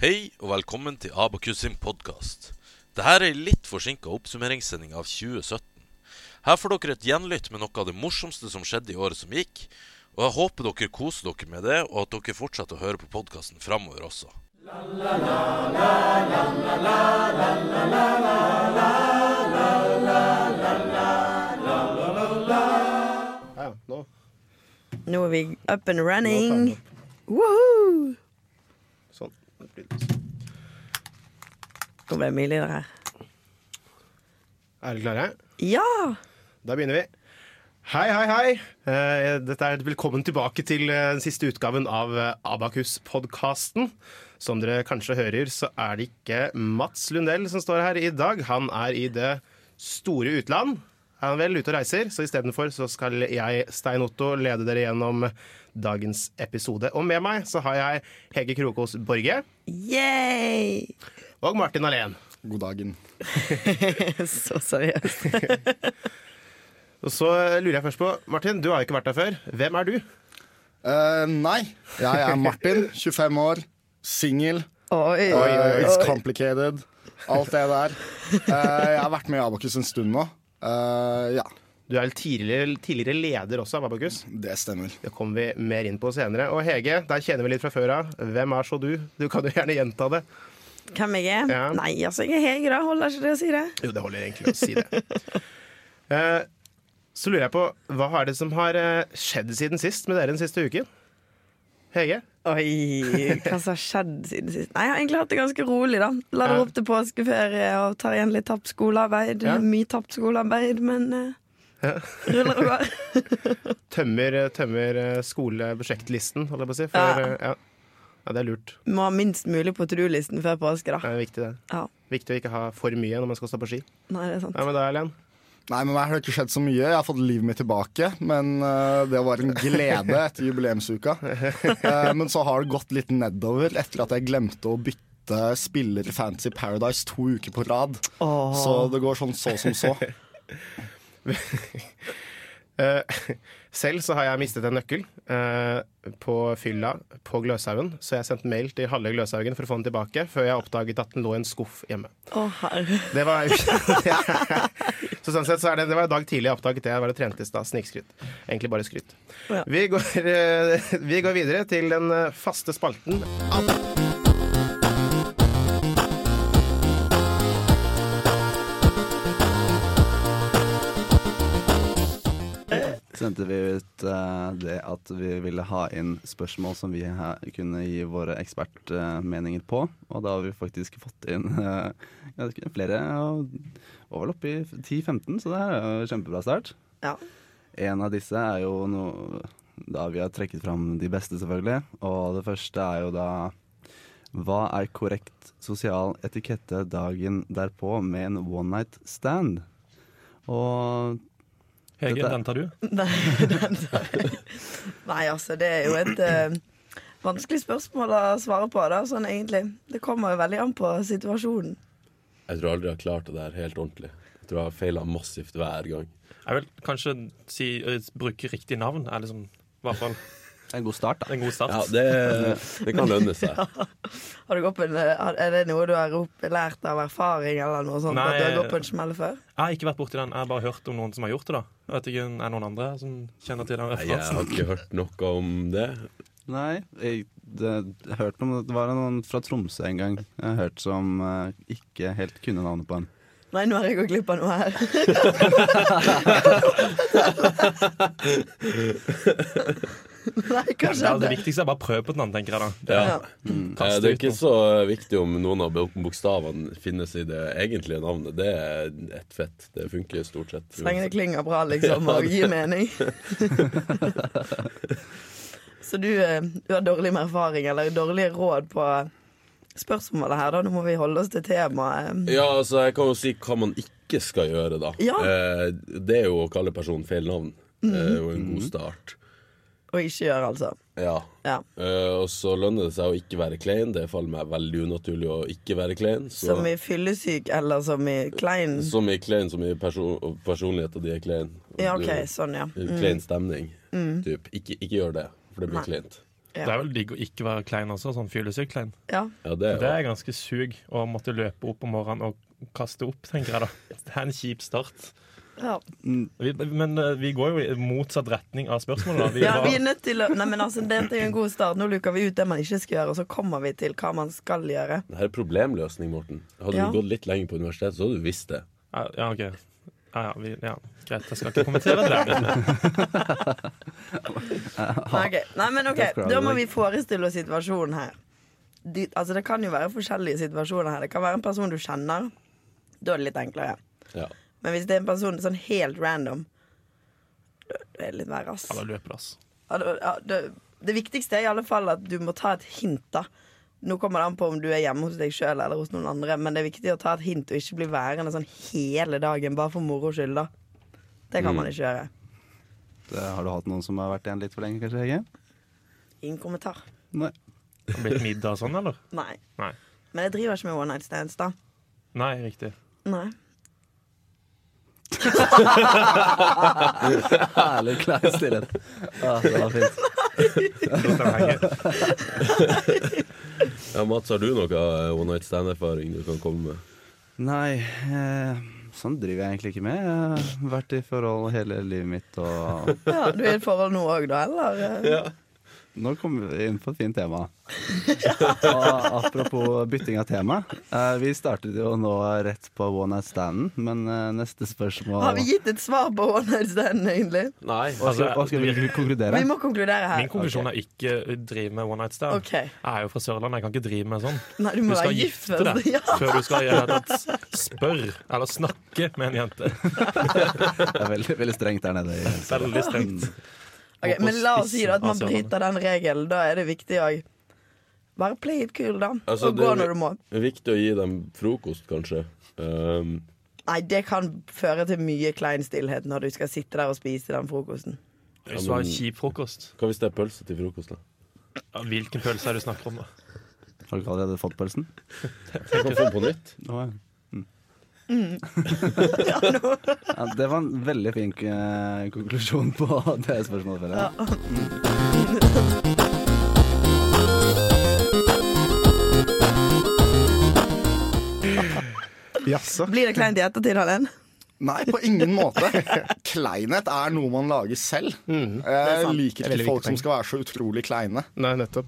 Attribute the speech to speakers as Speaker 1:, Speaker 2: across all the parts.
Speaker 1: Hei og velkommen til Abakus sin podkast. Dette er ei litt forsinka oppsummeringssending av 2017. Her får dere et gjenlytt med noe av det morsomste som skjedde i året som gikk. Og jeg håper dere koser dere med det, og at dere fortsetter å høre på podkasten framover også.
Speaker 2: Ja, ja, nå.
Speaker 3: Nå er vi up
Speaker 2: Nå tar
Speaker 3: and
Speaker 2: den
Speaker 3: running. Woohoo!
Speaker 2: Sånn. Det blir litt-
Speaker 3: Nå ble det mye lyder her.
Speaker 2: Er dere klare?
Speaker 3: Ja!
Speaker 2: Da begynner vi. Hei, hei, hei. Eh, Dette er Velkommen tilbake til eh, den siste utgaven av eh, Abakus-podkasten. Som dere kanskje hører, så er det ikke Mats Lundell som står her i dag. Han er i det store utland. Han er vel ute og reiser, så istedenfor så skal jeg, Stein Otto, lede dere gjennom dagens episode. Og med meg så har jeg Hege Krokos Borge
Speaker 3: Yay!
Speaker 2: og Martin Alén.
Speaker 4: God dagen.
Speaker 3: Så seriøst.
Speaker 2: Og så lurer jeg først på, Martin, du har jo ikke vært her før. Hvem er du?
Speaker 4: Eh, nei, jeg er Martin, 25 år, singel.
Speaker 3: Oi,
Speaker 4: eh, it's
Speaker 3: oi.
Speaker 4: complicated. Alt det der. Eh, jeg har vært med i Abakus en stund nå. Eh, ja,
Speaker 2: Du er vel tidligere, tidligere leder også av Abakus.
Speaker 4: det stemmer.
Speaker 2: Det kommer vi mer inn på senere. Og Hege, der kjenner vi litt fra før av. Hvem er så du? Du kan jo gjerne gjenta det.
Speaker 3: Hvem jeg er?
Speaker 2: Ja.
Speaker 3: Nei, altså, jeg er Hege, da. Holder ikke det å si det?
Speaker 2: Jo, det holder egentlig å si det. Eh, så lurer jeg på, hva er det som har eh, skjedd siden sist med dere den siste uken? Hege?
Speaker 3: Oi, hva som har skjedd siden sist? Nei, Jeg har egentlig hatt det ganske rolig, da. Lader
Speaker 2: Ja.
Speaker 3: opp til påskeferie og tar igjen litt tapt skolearbeid.
Speaker 2: Ja.
Speaker 3: Mye tapt skolearbeid, men eh, ruller og går.
Speaker 2: Tømmer, tømmer eh, skoleprosjektlisten, holder jeg på å si.
Speaker 3: Ja.
Speaker 2: For, eh, ja. ja, det er lurt.
Speaker 3: Må ha minst mulig på to do-listen før påske, da.
Speaker 2: Det er viktig, det.
Speaker 3: Ja.
Speaker 2: viktig å ikke ha for mye når man skal stå på ski.
Speaker 3: Nei, det er sant.
Speaker 2: Hva med deg, Elen?
Speaker 4: Nei, men meg har det ikke skjedd så mye. Jeg har fått livet mitt tilbake, men eh, det var en glede etter jubileumsuka. Eh, men så har det gått litt nedover etter at jeg glemte å bytte spiller i Fantasy Paradise to uker på rad.
Speaker 3: Åh.
Speaker 4: Så det går sånn så som så.
Speaker 2: Eh, Selv så har jeg mistet en nøkkel eh, på fylla på Gløshaugen, så jeg sendte mail til halve Gløshaugen for å få den tilbake, før jeg oppdaget at den lå i en skuff hjemme.
Speaker 3: Å, herre.
Speaker 2: Det var Så sånn sett så er det, det var en dag tidlig jeg oppdaget det. Jeg var og trente i stad. Snikskryt. Egentlig bare skryt.
Speaker 3: Ja.
Speaker 2: Vi, går, eh, vi går videre til den eh, faste spalten.
Speaker 5: sendte vi ut eh, det at vi ville ha inn spørsmål som vi ha- kunne gi våre ekspertmeninger på. Og da har vi faktisk fått inn eh, ganske flere. Og var vel oppe i 10-15, så det her er jo kjempebra start.
Speaker 3: Ja.
Speaker 5: En av disse er jo noe da vi har trekket fram de beste, selvfølgelig. Og det første er jo da Hva er korrekt sosial etikette dagen derpå med en one night stand? Og
Speaker 6: Hege,
Speaker 5: Dette-
Speaker 6: den tar du.
Speaker 3: Nei, den tar jeg. Nei, altså, det er jo et eh, vanskelig spørsmål å svare på, da, sånn egentlig. Det kommer jo veldig an på situasjonen.
Speaker 7: Jeg tror aldri jeg har klart det der helt ordentlig. Jeg tror jeg har feila massivt hver gang.
Speaker 6: Jeg vil kanskje si, ø, bruke riktig navn. Er liksom, i hvert fall
Speaker 5: det er en god start, da.
Speaker 6: en god start.
Speaker 7: Ja, Det, det kan lønne seg.
Speaker 3: Har du gått på en, har- er det noe du har rop- lært av erfaring, eller noe sånt?
Speaker 6: Nei,
Speaker 3: at du har gått på en smell før?
Speaker 6: Jeg har ikke vært borti den. Jeg har bare hørt om noen som har gjort det. da Jeg vet ikke, Er det noen andre som kjenner til den
Speaker 7: Nei, Jeg
Speaker 6: referansen?
Speaker 7: har ikke hørt noe om det.
Speaker 5: Nei, jeg, det, jeg hørte om det var noen fra Tromsø en gang jeg har hørt som eh, ikke helt kunne navnet på en.
Speaker 3: Nei, nå har jeg gått glipp av noe her. Nei, hva
Speaker 6: Ja, det
Speaker 3: skjedde?
Speaker 6: viktigste er bare å prøve på den, tenker jeg da.
Speaker 7: Ja.
Speaker 3: Ja.
Speaker 7: Eh,
Speaker 6: Kast
Speaker 7: Det er
Speaker 6: ut
Speaker 7: ikke
Speaker 6: noe.
Speaker 7: så viktig om noen av bokstavene finnes i det egentlige navnet. Det er ett fett. Det funker stort sett.
Speaker 3: Så lenge det klinger bra, liksom, og gir mening. Så du, eh, du har dårlig med erfaring, eller dårlige råd på spørsmålet her, da. Nå må vi holde oss til temaet. eh,
Speaker 7: Ja, altså, jeg kan jo si hva man ikke skal gjøre, da.
Speaker 3: Ja. Mm.
Speaker 7: Eh, Det er jo å kalle personen feil navn. Det er jo en
Speaker 6: Mm.
Speaker 7: god start.
Speaker 3: Og ikke gjøre, altså.
Speaker 7: Ja.
Speaker 3: Ja.
Speaker 7: Eh, Og så lønner det seg å ikke være klein. Det faller meg veldig unaturlig å ikke være klein. Så.
Speaker 3: Som i fyllesyk, eller som i klein
Speaker 7: Så mye klein, så mye perso personlighet, og de er klein.
Speaker 3: Ja, OK, sånn, ja.
Speaker 7: Du- Klein stemning. Typ. Ikke, ikke gjør det, for det blir
Speaker 3: Nei.
Speaker 7: kleint.
Speaker 3: Ja.
Speaker 6: Det er vel digg å ikke være klein også, sånn fyllesykklein.
Speaker 3: Ja.
Speaker 7: Ja, det
Speaker 6: Det
Speaker 7: er jo
Speaker 6: er ganske sug å måtte løpe opp om morgenen og kaste opp, tenker jeg da. Det er en kjip start.
Speaker 3: Ja.
Speaker 5: Mm.
Speaker 6: Vi, men eh, vi går jo i motsatt retning av spørsmålet. Da. Vi
Speaker 3: ja,
Speaker 6: var-
Speaker 3: vi er nødt til å Nei, men altså, dette er jo en god start. Nå luker vi ut det man ikke skal gjøre, og så kommer vi til hva man skal gjøre.
Speaker 7: Det her er problemløsning, Morten. Hadde
Speaker 3: Ja.
Speaker 7: du gått litt lenger på universitetet, så hadde du visst det.
Speaker 6: Ja, ja, ok. Ja, ja, vi, ja. Greit, jeg skal ikke kommentere det.
Speaker 3: Nei, ok. Nei, men ok,
Speaker 5: That's probably
Speaker 3: da må
Speaker 5: like-
Speaker 3: vi forestille oss situasjonen her. De, altså, det kan jo være forskjellige situasjoner her. Det kan være en person du kjenner. Da er det litt enklere.
Speaker 7: Ja.
Speaker 3: Men hvis det er en person sånn helt random da er det litt verre, ass.
Speaker 6: Ja, da løper det, ass.
Speaker 3: Ja, det, ja, det, det viktigste er i alle fall at du må ta et hint, da. Nå kommer det an på om du er hjemme hos deg sjøl eller hos noen andre, men det er viktig å ta et hint og ikke bli værende sånn hele dagen bare for moro skyld, da. Det kan man ikke gjøre.
Speaker 5: Det- Har du hatt noen som har vært igjen litt for lenge, kanskje, Hege?
Speaker 3: Ingen kommentar.
Speaker 5: Nei.
Speaker 6: Det blir et middag og sånn, eller?
Speaker 3: Nei.
Speaker 6: Nei.
Speaker 3: Men jeg driver ikke med one night stands, da.
Speaker 6: Nei, riktig.
Speaker 3: Nei.
Speaker 5: Herlig klein stillhet. Ja, det var fint.
Speaker 7: ja, Mats, har du noe eh, one night stand-erfaring du kan komme med?
Speaker 5: Nei, eh, sånn driver jeg egentlig ikke med. Jeg har vært i forhold hele livet mitt, og
Speaker 3: Ja, Du er i et forhold nå òg, da, eller? Ja.
Speaker 5: nå kommer vi inn på et fint tema. Og apropos bytting av tema. Eh, vi startet jo nå rett på one night standen, men eh, neste spørsmål
Speaker 3: Har vi gitt et svar på one night stand, egentlig?
Speaker 7: Nei.
Speaker 5: Hva
Speaker 6: Altså,
Speaker 5: skal, hva skal vi konkludere?
Speaker 3: Vi må konkludere
Speaker 6: Min
Speaker 3: her.
Speaker 6: konklusjon er ikke drive med one night stand.
Speaker 3: Ok.
Speaker 6: Jeg er jo fra Sørlandet, jeg kan ikke drive med sånn.
Speaker 3: Nei, du må være gift først.
Speaker 6: deg
Speaker 3: Ja.
Speaker 6: før du skal gjøre det. Spør eller snakke med en jente.
Speaker 5: Det er veldig, veldig strengt der nede. i-
Speaker 6: Veldig strengt.
Speaker 3: Ok,
Speaker 6: Og på
Speaker 3: men la oss si da at man
Speaker 6: spissen av Sørlandet.
Speaker 3: bryter den regelen. Da er det viktig òg. Bare play it cool, da.
Speaker 7: Altså,
Speaker 3: og
Speaker 7: det-
Speaker 3: gå når du må.
Speaker 7: Det er viktig å gi dem frokost, kanskje. Um,
Speaker 3: Nei, det kan føre til mye klein stillhet når du skal sitte der og spise den frokosten.
Speaker 6: Hvis du har en kjip frokost,
Speaker 7: kan vi steke pølse til frokost, da?
Speaker 6: ja, hvilken pølse er det du snakker om? da?
Speaker 5: Har du ikke allerede fått pølsen?
Speaker 7: Jeg kan få den på nytt.
Speaker 5: Å, ja. Mm.
Speaker 3: Ja, nå.
Speaker 5: Ja, det var en veldig fin eh, konklusjon på det spørsmålet. Før, ja.
Speaker 2: Jaså.
Speaker 3: Blir det kleint i ettertid, Hallén?
Speaker 4: Nei, på ingen måte. Kleinhet er noe man lager selv. Eh,
Speaker 3: er
Speaker 4: Jeg
Speaker 3: sant.
Speaker 4: liker
Speaker 2: Mm, Det er veldig
Speaker 4: ikke folk
Speaker 2: viktig
Speaker 4: som
Speaker 2: poeng.
Speaker 4: skal være så utrolig kleine.
Speaker 2: Nei, nettopp.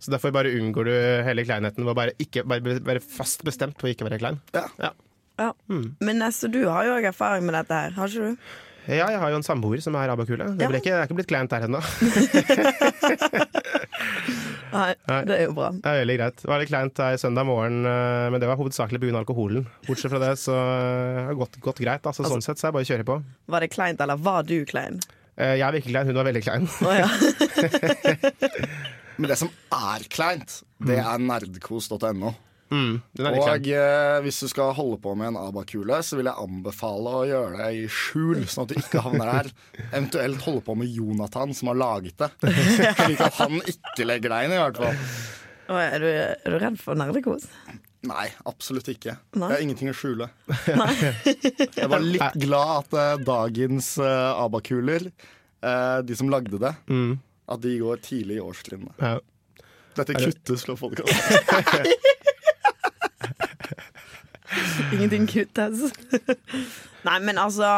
Speaker 2: Så derfor bare unngår du hele kleinheten ved å bare, ikke, bare være fast bestemt på å ikke være klein.
Speaker 4: Ja.
Speaker 3: Ja.
Speaker 6: Mm.
Speaker 3: Men Nesse, du har jo òg erfaring med dette her, har ikke du?
Speaker 2: Ja, jeg har jo en samboer som er abakule. Det
Speaker 3: Ja.
Speaker 2: ble ikke, det er ikke blitt kleint der ennå.
Speaker 3: Nei,
Speaker 2: Nei.
Speaker 3: det er jo bra.
Speaker 2: Det er veldig greit. Det var litt kleint her søndag morgen, eh, men det var hovedsakelig pga. alkoholen. Bortsett fra det, så eh, har det gått, gått greit. Altså, sånn sett så er det bare å kjøre på.
Speaker 3: Var det kleint, eller var du klein?
Speaker 2: Eh, Jeg er virkelig klein, hun var veldig klein.
Speaker 3: Å ja.
Speaker 4: Men det som er kleint, det er nerdkos.no.
Speaker 2: Mm. Den Mm, er litt klein.
Speaker 4: Og eh, hvis du skal holde på med en abakule, så vil jeg anbefale å gjøre det i skjul, sånn at du ikke havner der. Eventuelt holde på med Jonathan, som har laget det. Slik at han ikke legger deg inn, i hvert fall.
Speaker 3: Å, ja, er, du, er du redd for nerdekos?
Speaker 4: Nei, absolutt ikke.
Speaker 3: Nei.
Speaker 4: Jeg har ingenting å skjule. jeg var litt glad at eh, dagens eh, abakuler, eh, de som lagde det,
Speaker 2: Mm.
Speaker 4: at de går tidlig i årstrinnene.
Speaker 2: Ja.
Speaker 4: Dette
Speaker 2: det-
Speaker 4: kuttes fra podkast.
Speaker 3: Ingenting kuttes. Nei, men altså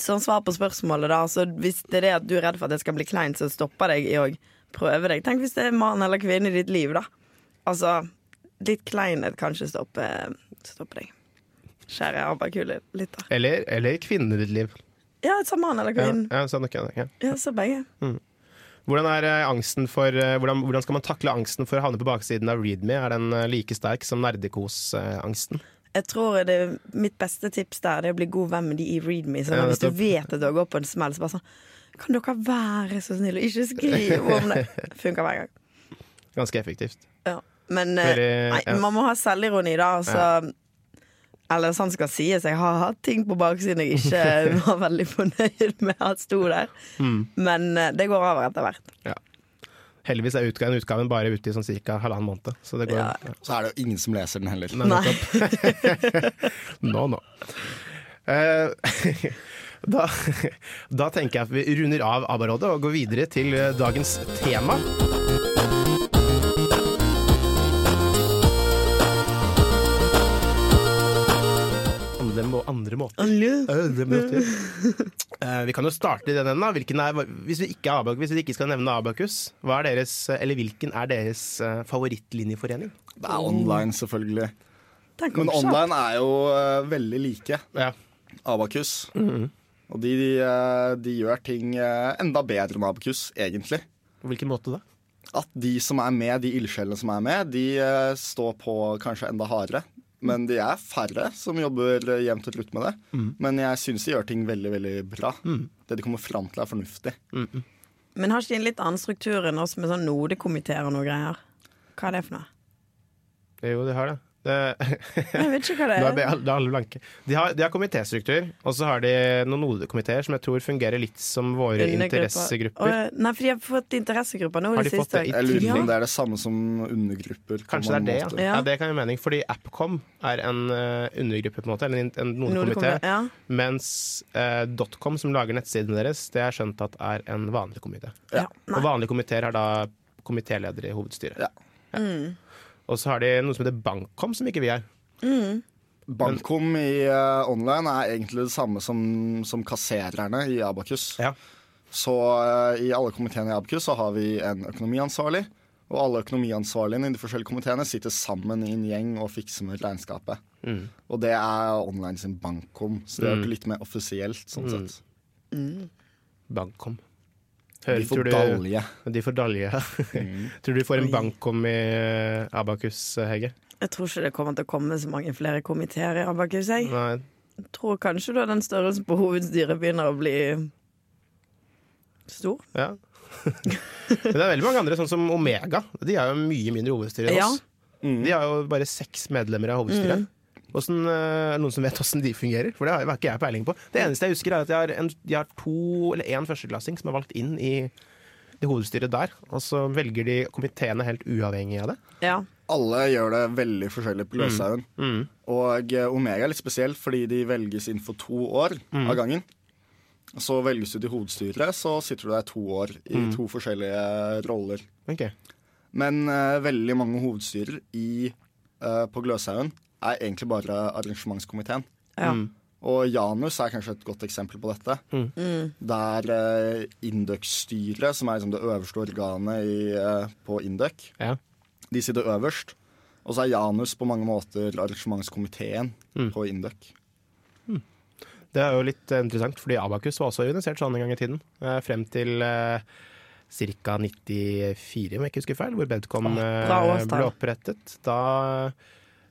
Speaker 3: Som svar på spørsmålet, da. Altså, hvis det er det at du er redd for at det skal bli kleint, så stopper deg i å prøve deg. Tenk hvis det er mann eller kvinne i ditt liv, da. Altså, litt kleinhet kan ikke stoppe, stoppe deg. Kjære abakule lytter.
Speaker 2: Eller, eller kvinnen i ditt liv.
Speaker 3: Ja, sa mann eller
Speaker 2: Ja,
Speaker 3: kvinne.
Speaker 2: ja, sånn, ok, ok. Mm.
Speaker 3: Ja, sa begge.
Speaker 2: Hvordan, er eh, angsten for, eh, hvordan, hvordan skal man takle angsten for å havne på baksiden av Readme? Er den eh, like sterk som eh, nerdekos-angsten?
Speaker 3: Jeg tror det er mitt beste tips der Det er å bli god venn med de i Readme. Sånn,
Speaker 2: Ja,
Speaker 3: at hvis du
Speaker 2: nettopp.
Speaker 3: vet at du har gått på en smell, så bare sånn Kan dere være så snill og ikke skrive om det? Funker hver gang.
Speaker 2: Ganske effektivt.
Speaker 3: Ja. Men eh,
Speaker 2: Veldig-
Speaker 3: nei,
Speaker 2: ja.
Speaker 3: man må ha selvironi, da. Altså, Eller sånn skal sies, jeg har hatt ting på baksiden jeg ikke var veldig fornøyd med at sto der.
Speaker 2: Mm.
Speaker 3: Men eh, det går over etter hvert.
Speaker 2: Heldigvis er utgaven, utgaven bare ute i sånn ca. halvannen måned. Så det går
Speaker 3: Ja.
Speaker 2: ja.
Speaker 4: Så er det jo ingen som leser den heller.
Speaker 3: Nei.
Speaker 2: Nå, nå. Eh, Da, da tenker jeg at vi runder av ABBA-rådet og går videre til eh, dagens tema. Andre, må, andre måter.
Speaker 3: Alle.
Speaker 2: Andre måter. Eh, Vi kan jo starte i den enden. da. Hvilken er, hvis, vi ikke er Abakus, hvis vi ikke skal nevne Abakus, hva er deres, eh, eller hvilken er deres eh, favorittlinjeforening?
Speaker 4: Det er online, selvfølgelig.
Speaker 3: Den kom
Speaker 4: Men
Speaker 3: kjapt.
Speaker 4: online er jo eh, veldig like
Speaker 2: Ja.
Speaker 4: Abakus.
Speaker 2: Mm-hmm.
Speaker 4: Og de, de, eh, de gjør ting eh, enda bedre enn Abakus, egentlig.
Speaker 2: På hvilken måte da?
Speaker 4: At de som er med, de ildsjelene som er med, de eh, står på kanskje enda hardere. Men de er færre som jobber eh, jevnt og trutt med det.
Speaker 2: Mm.
Speaker 4: Men jeg syns de gjør ting veldig, veldig bra. Det de kommer fram til, er fornuftig.
Speaker 2: Mm-hmm.
Speaker 3: Men har ikke de en litt annen struktur enn oss med sånn nodekomiteer og noe greier? Hva er det for noe?
Speaker 2: Jo, de har det. det
Speaker 3: Jeg vet ikke
Speaker 2: da
Speaker 3: hva det
Speaker 2: ble
Speaker 3: er.
Speaker 2: alle- da er alle blanke. De har, de har komitéstruktur, og så har de noen nodekomiteer som jeg tror fungerer litt som våre interessegrupper.
Speaker 3: Å, nei, for de har fått interessegrupper nå
Speaker 2: Har
Speaker 3: i
Speaker 2: de
Speaker 3: det
Speaker 2: fått
Speaker 3: siste.
Speaker 2: det i
Speaker 4: Jeg lurer på
Speaker 3: ja.
Speaker 4: om det er det samme som undergrupper. på
Speaker 2: Kanskje det er det,
Speaker 4: mange
Speaker 2: ja.
Speaker 4: måter.
Speaker 2: ja.
Speaker 3: Ja.
Speaker 2: Det kan gi mening, fordi Appcom er en eh, undergruppe, på en måte, eller en, en nodekomité.
Speaker 3: Nodekomité, ja.
Speaker 2: Mens eh, Dotcom, som lager nettsidene deres, det er skjønt at er en vanlig komité.
Speaker 3: Ja.
Speaker 2: Og
Speaker 3: Nei.
Speaker 2: vanlige komiteer har da komitéleder i hovedstyret.
Speaker 4: Ja.
Speaker 2: Ja.
Speaker 3: Mm.
Speaker 2: Og så har de noe som heter Bankcom, som ikke vi er.
Speaker 4: Bankom Mm. i eh, online er egentlig det samme som, som kassererne i Abakus.
Speaker 2: Ja.
Speaker 4: Så eh, i alle komiteene i Abakus så har vi en økonomiansvarlig. Og alle økonomiansvarligene i de forskjellige komiteene sitter sammen i en gjeng og fikser med regnskapet. Og det er online sin bankom, så det er jo ikke litt mer offisielt sånn sett.
Speaker 2: Bankcom.
Speaker 4: De
Speaker 2: tror
Speaker 4: får
Speaker 2: du-
Speaker 4: dalje.
Speaker 2: De får dalje. Tror du de får en bankcom i eh, Abakus, Hege?
Speaker 3: Jeg tror ikke det kommer til å komme så mange flere komiteer i Abakus. Jeg
Speaker 2: Nei.
Speaker 3: tror kanskje da den størrelsen på hovedstyret begynner å bli stor.
Speaker 2: Ja. Men det er veldig mange andre, sånn som Omega. De er jo mye mindre hovedstyre enn
Speaker 3: Ja.
Speaker 2: oss. De har jo bare seks medlemmer av hovedstyret. Hvordan, eh, er det noen som vet åssen de fungerer? For det har har ikke jeg peiling på. Det eneste jeg husker, er at de har, en, de har to eller én førsteklassing som er valgt inn i det hovedstyret der. Og så velger de komiteene helt uavhengig av det.
Speaker 3: Ja.
Speaker 4: Alle gjør det veldig forskjellig på Løshaugen. Og eh, Omega er litt spesiell fordi de velges inn for to år av gangen. Så velges du til hovedstyret, så sitter du der to år i to forskjellige roller.
Speaker 2: Ok.
Speaker 4: Men eh, veldig mange hovedstyrer i, eh, på Gløshaugen er egentlig bare arrangementskomiteen.
Speaker 3: ja.
Speaker 4: Og Janus er kanskje et godt eksempel på dette.
Speaker 6: Mm.
Speaker 3: Mm.
Speaker 4: Der eh, Indøk-styret, som er liksom det øverste organet i, eh, på Indøk,
Speaker 2: Ja.
Speaker 4: de sitter øverst. Og så er Janus på mange måter arrangementskomiteen på Induc.
Speaker 2: Det er jo litt eh, interessant, fordi Abakus var også organisert sånn en gang i tiden. eh, Frem til eh, ca. 94, om jeg ikke husker feil, hvor Bedcom eh,
Speaker 3: bra årstall.
Speaker 2: ble opprettet. Da,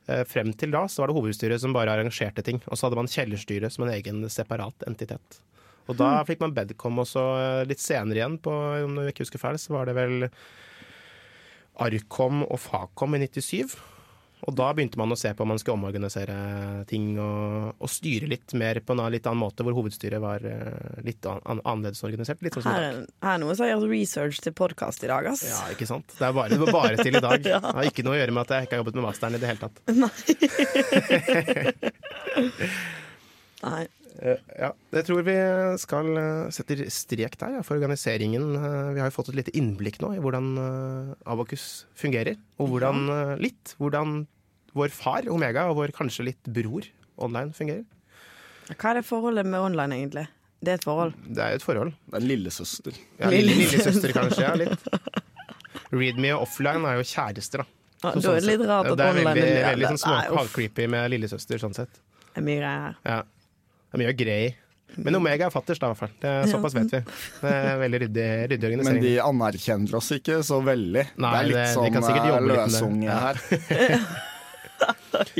Speaker 2: eh, frem til da så var det hovedstyret som bare arrangerte ting, og så hadde man kjellerstyret som en egen separat entitet. Og da fikk man Bedcom også eh, litt senere igjen, på, om jeg ikke husker feil, så var det vel Arkom og Facom i 97. Og da begynte man å se på om man skulle omorganisere ting og, og styre litt mer på en annen- litt annen måte, hvor hovedstyret var eh, litt an, an, annerledes organisert. Litt sånn som i
Speaker 3: Her,
Speaker 2: dag.
Speaker 3: er, her er noen som har gjort research til podkast i dag, ass.
Speaker 2: Ja, ikke sant? Det, er bare, det var bare til i dag. Det har ikke noe å gjøre med at jeg ikke har jobbet med masteren i det hele tatt.
Speaker 3: Nei.
Speaker 2: Eh, Ja, jeg tror vi skal eh, sette strek der ja, for organiseringen. Eh, Vi har jo fått et lite innblikk nå i hvordan eh, Abakus fungerer, og hvordan eh, litt hvordan vår far Omega og vår kanskje litt bror online fungerer.
Speaker 3: Hva er det forholdet med online, egentlig? Det er et forhold.
Speaker 2: Det er jo et forhold.
Speaker 4: Det er en lillesøster.
Speaker 2: Ja, lille- Lillesøster, kanskje. Ja, litt. Readme og offline er jo kjærester, da.
Speaker 3: Ja,
Speaker 2: Så
Speaker 3: da er
Speaker 2: sånn
Speaker 3: det litt
Speaker 2: sett-
Speaker 3: rart at
Speaker 2: det er
Speaker 3: online
Speaker 2: veldig,
Speaker 3: er
Speaker 2: veldig sånn små-
Speaker 3: Nei, uff,
Speaker 2: halvcreepy med lillesøster, sånn sett.
Speaker 3: det er mye greier her.
Speaker 2: Ja. Det er mye grei. Men Omega er fatters, da, i hvert fall. Det er, såpass vet vi. Det er veldig ryddig, ryddig
Speaker 4: Men
Speaker 2: organisering.
Speaker 4: de anerkjenner oss ikke så veldig.
Speaker 2: Nei,
Speaker 4: det er litt
Speaker 2: det- de
Speaker 4: sånn
Speaker 2: kan sikkert
Speaker 4: eh,
Speaker 2: jobbe litt med det.
Speaker 4: løsunge her.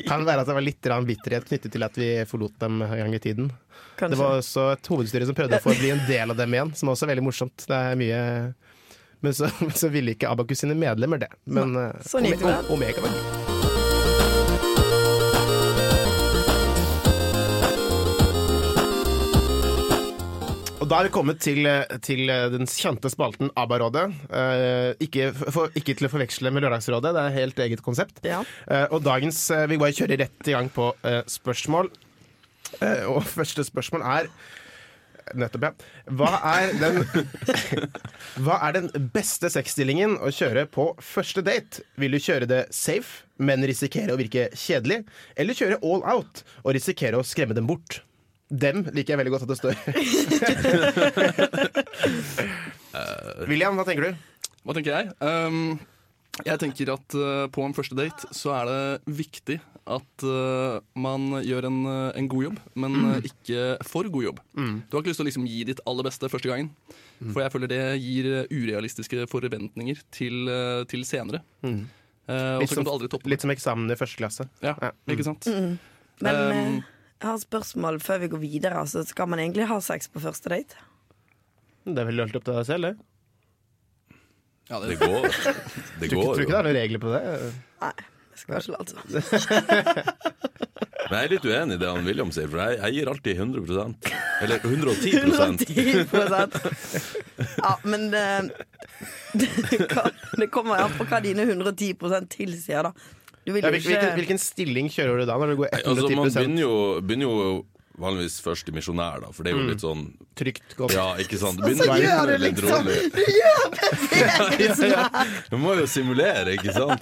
Speaker 2: Kan være at det var litt grann bitterhet knyttet til at vi forlot dem en gang i tiden.
Speaker 3: Kanskje.
Speaker 2: Det var også et hovedstyre som prøvde å få bli en del av dem igjen, som er også veldig morsomt. Det er mye Men så, så ville ikke Abakus sine medlemmer det. Men eh,
Speaker 3: sånn gikk det.
Speaker 2: Ome- Omega var det. Og da er vi kommet til, eh, til eh, den kjente spalten ABBA-rådet. Eh, ikke, for, ikke til å forveksle med Lørdagsrådet, det er helt eget konsept.
Speaker 3: Ja.
Speaker 2: Eh, og dagens eh, Vi bare kjører rett i gang på eh, spørsmål. Eh, og første spørsmål er Nettopp, ja. Hva er den Hva er den beste sexstillingen å kjøre på første date? Vil du kjøre det safe, men risikere å virke kjedelig? Eller kjøre all out og risikere å skremme dem bort? Dem liker jeg veldig godt at det står. William, hva tenker du?
Speaker 8: Eh, Hva tenker jeg? Ehm, jeg tenker at eh, på en første date så er det viktig at eh, man gjør en, eh, en god jobb, men
Speaker 2: Mm.
Speaker 8: eh, ikke for god jobb. Du har ikke lyst til å liksom gi ditt aller beste første gangen.
Speaker 2: Mm.
Speaker 8: For jeg føler det gir eh, urealistiske forventninger til, eh, til senere. Eh, og
Speaker 2: Mm. Litt
Speaker 8: så kan du aldri
Speaker 2: som,
Speaker 8: toppe det.
Speaker 2: litt som eksamen i første klasse.
Speaker 8: Ja,
Speaker 2: ja. Mm.
Speaker 8: ikke sant?
Speaker 3: Men
Speaker 8: Um,
Speaker 3: eh, jeg har et spørsmål før vi går videre. Altså, skal man egentlig ha sex på første date?
Speaker 2: Det er vel alt opp til deg selv, det.
Speaker 8: Ja,
Speaker 7: Det
Speaker 8: det,
Speaker 7: går, det
Speaker 2: Tror ikke,
Speaker 7: går
Speaker 2: tror
Speaker 7: jo.
Speaker 2: ikke det er noen regler på det.
Speaker 3: Jeg skal ikke altså.
Speaker 7: Men jeg er litt uenig i det han William sier, for jeg, jeg gir alltid 100 Eller 110
Speaker 3: 110 Ja, men eh, det, kan- det kommer an på hva dine 110 tilsier, da. Du vil
Speaker 2: Ja,
Speaker 3: jo
Speaker 2: hvil- hvilken,
Speaker 3: ikke
Speaker 2: hvilken stilling kjører du da, når du går
Speaker 7: Nei, Altså,
Speaker 2: 110
Speaker 7: man begynner jo, begynner jo vanligvis først i misjonær, da, for det er jo litt sånn
Speaker 2: Mm. trygt godt? Altså,
Speaker 7: Ja, ikke sant? Det begynner
Speaker 2: gjør liksom.
Speaker 7: det litt rolig. Ja, ja, ja. Du må jo simulere, ikke sant?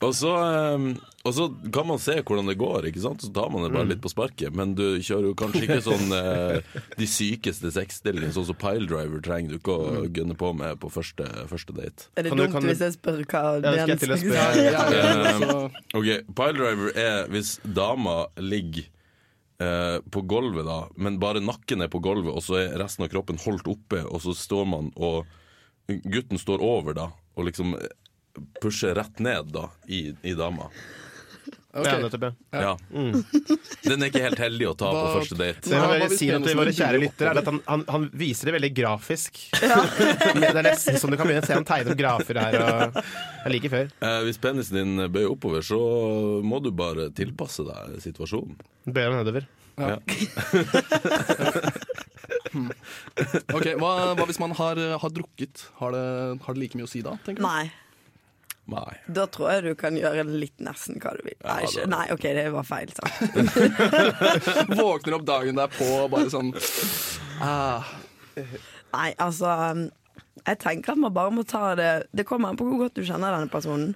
Speaker 7: Og så, eh, og så kan man se hvordan det går, ikke sant? Så tar man det
Speaker 2: Mm.
Speaker 7: bare litt på sparket. Men du kjører jo kanskje ikke sånn eh, de sykeste sexstillingene, sånn som piledriver trenger du ikke å gunne på med på første, første date.
Speaker 3: Er det
Speaker 2: Mm. Kan du-
Speaker 3: dumt
Speaker 2: kan du-
Speaker 3: hvis jeg spør hva
Speaker 2: Ja, skal jeg til å
Speaker 3: Jens-
Speaker 2: spørre?
Speaker 8: ja, ja, så,
Speaker 7: Eh, Ok, piledriver er hvis dama ligger eh, på gulvet, da, men bare nakken er på gulvet, og så er resten av kroppen holdt oppe, og så står man og Gutten står over, da, og liksom pusher rett ned, da, i, i dama.
Speaker 8: ok. Mm.
Speaker 2: Ja, nettopp, ja.
Speaker 7: Ja. Den er ikke helt heldig å ta på
Speaker 8: Hva-
Speaker 7: første date.
Speaker 2: Det jeg
Speaker 8: Hva-
Speaker 2: vil
Speaker 8: hva hvis
Speaker 2: si nå til
Speaker 8: penisen
Speaker 2: våre
Speaker 8: dukker
Speaker 2: kjære
Speaker 8: opp?
Speaker 2: lyttere, er at han, han, han viser det veldig grafisk. det er nesten som du kan begynne å se han tegner opp grafer her. Og jeg liker før.
Speaker 7: Eh, hvis penisen din bøyer oppover, så må du bare tilpasse deg situasjonen.
Speaker 2: Bøyer han nedover.
Speaker 8: ok, hva, hva hvis man har, har drukket? Har det, har det like mye å si da? tenker du?
Speaker 3: Nei.
Speaker 7: Nei.
Speaker 3: Da tror jeg du kan gjøre litt nesten hva du vil. Nei,
Speaker 7: det-
Speaker 3: ikke. Nei OK, det var feil sagt.
Speaker 8: Våkner opp dagen derpå og bare sånn ah,
Speaker 3: Nei, altså um, Jeg tenker at man bare må ta det Det kommer an på hvor godt du kjenner denne personen.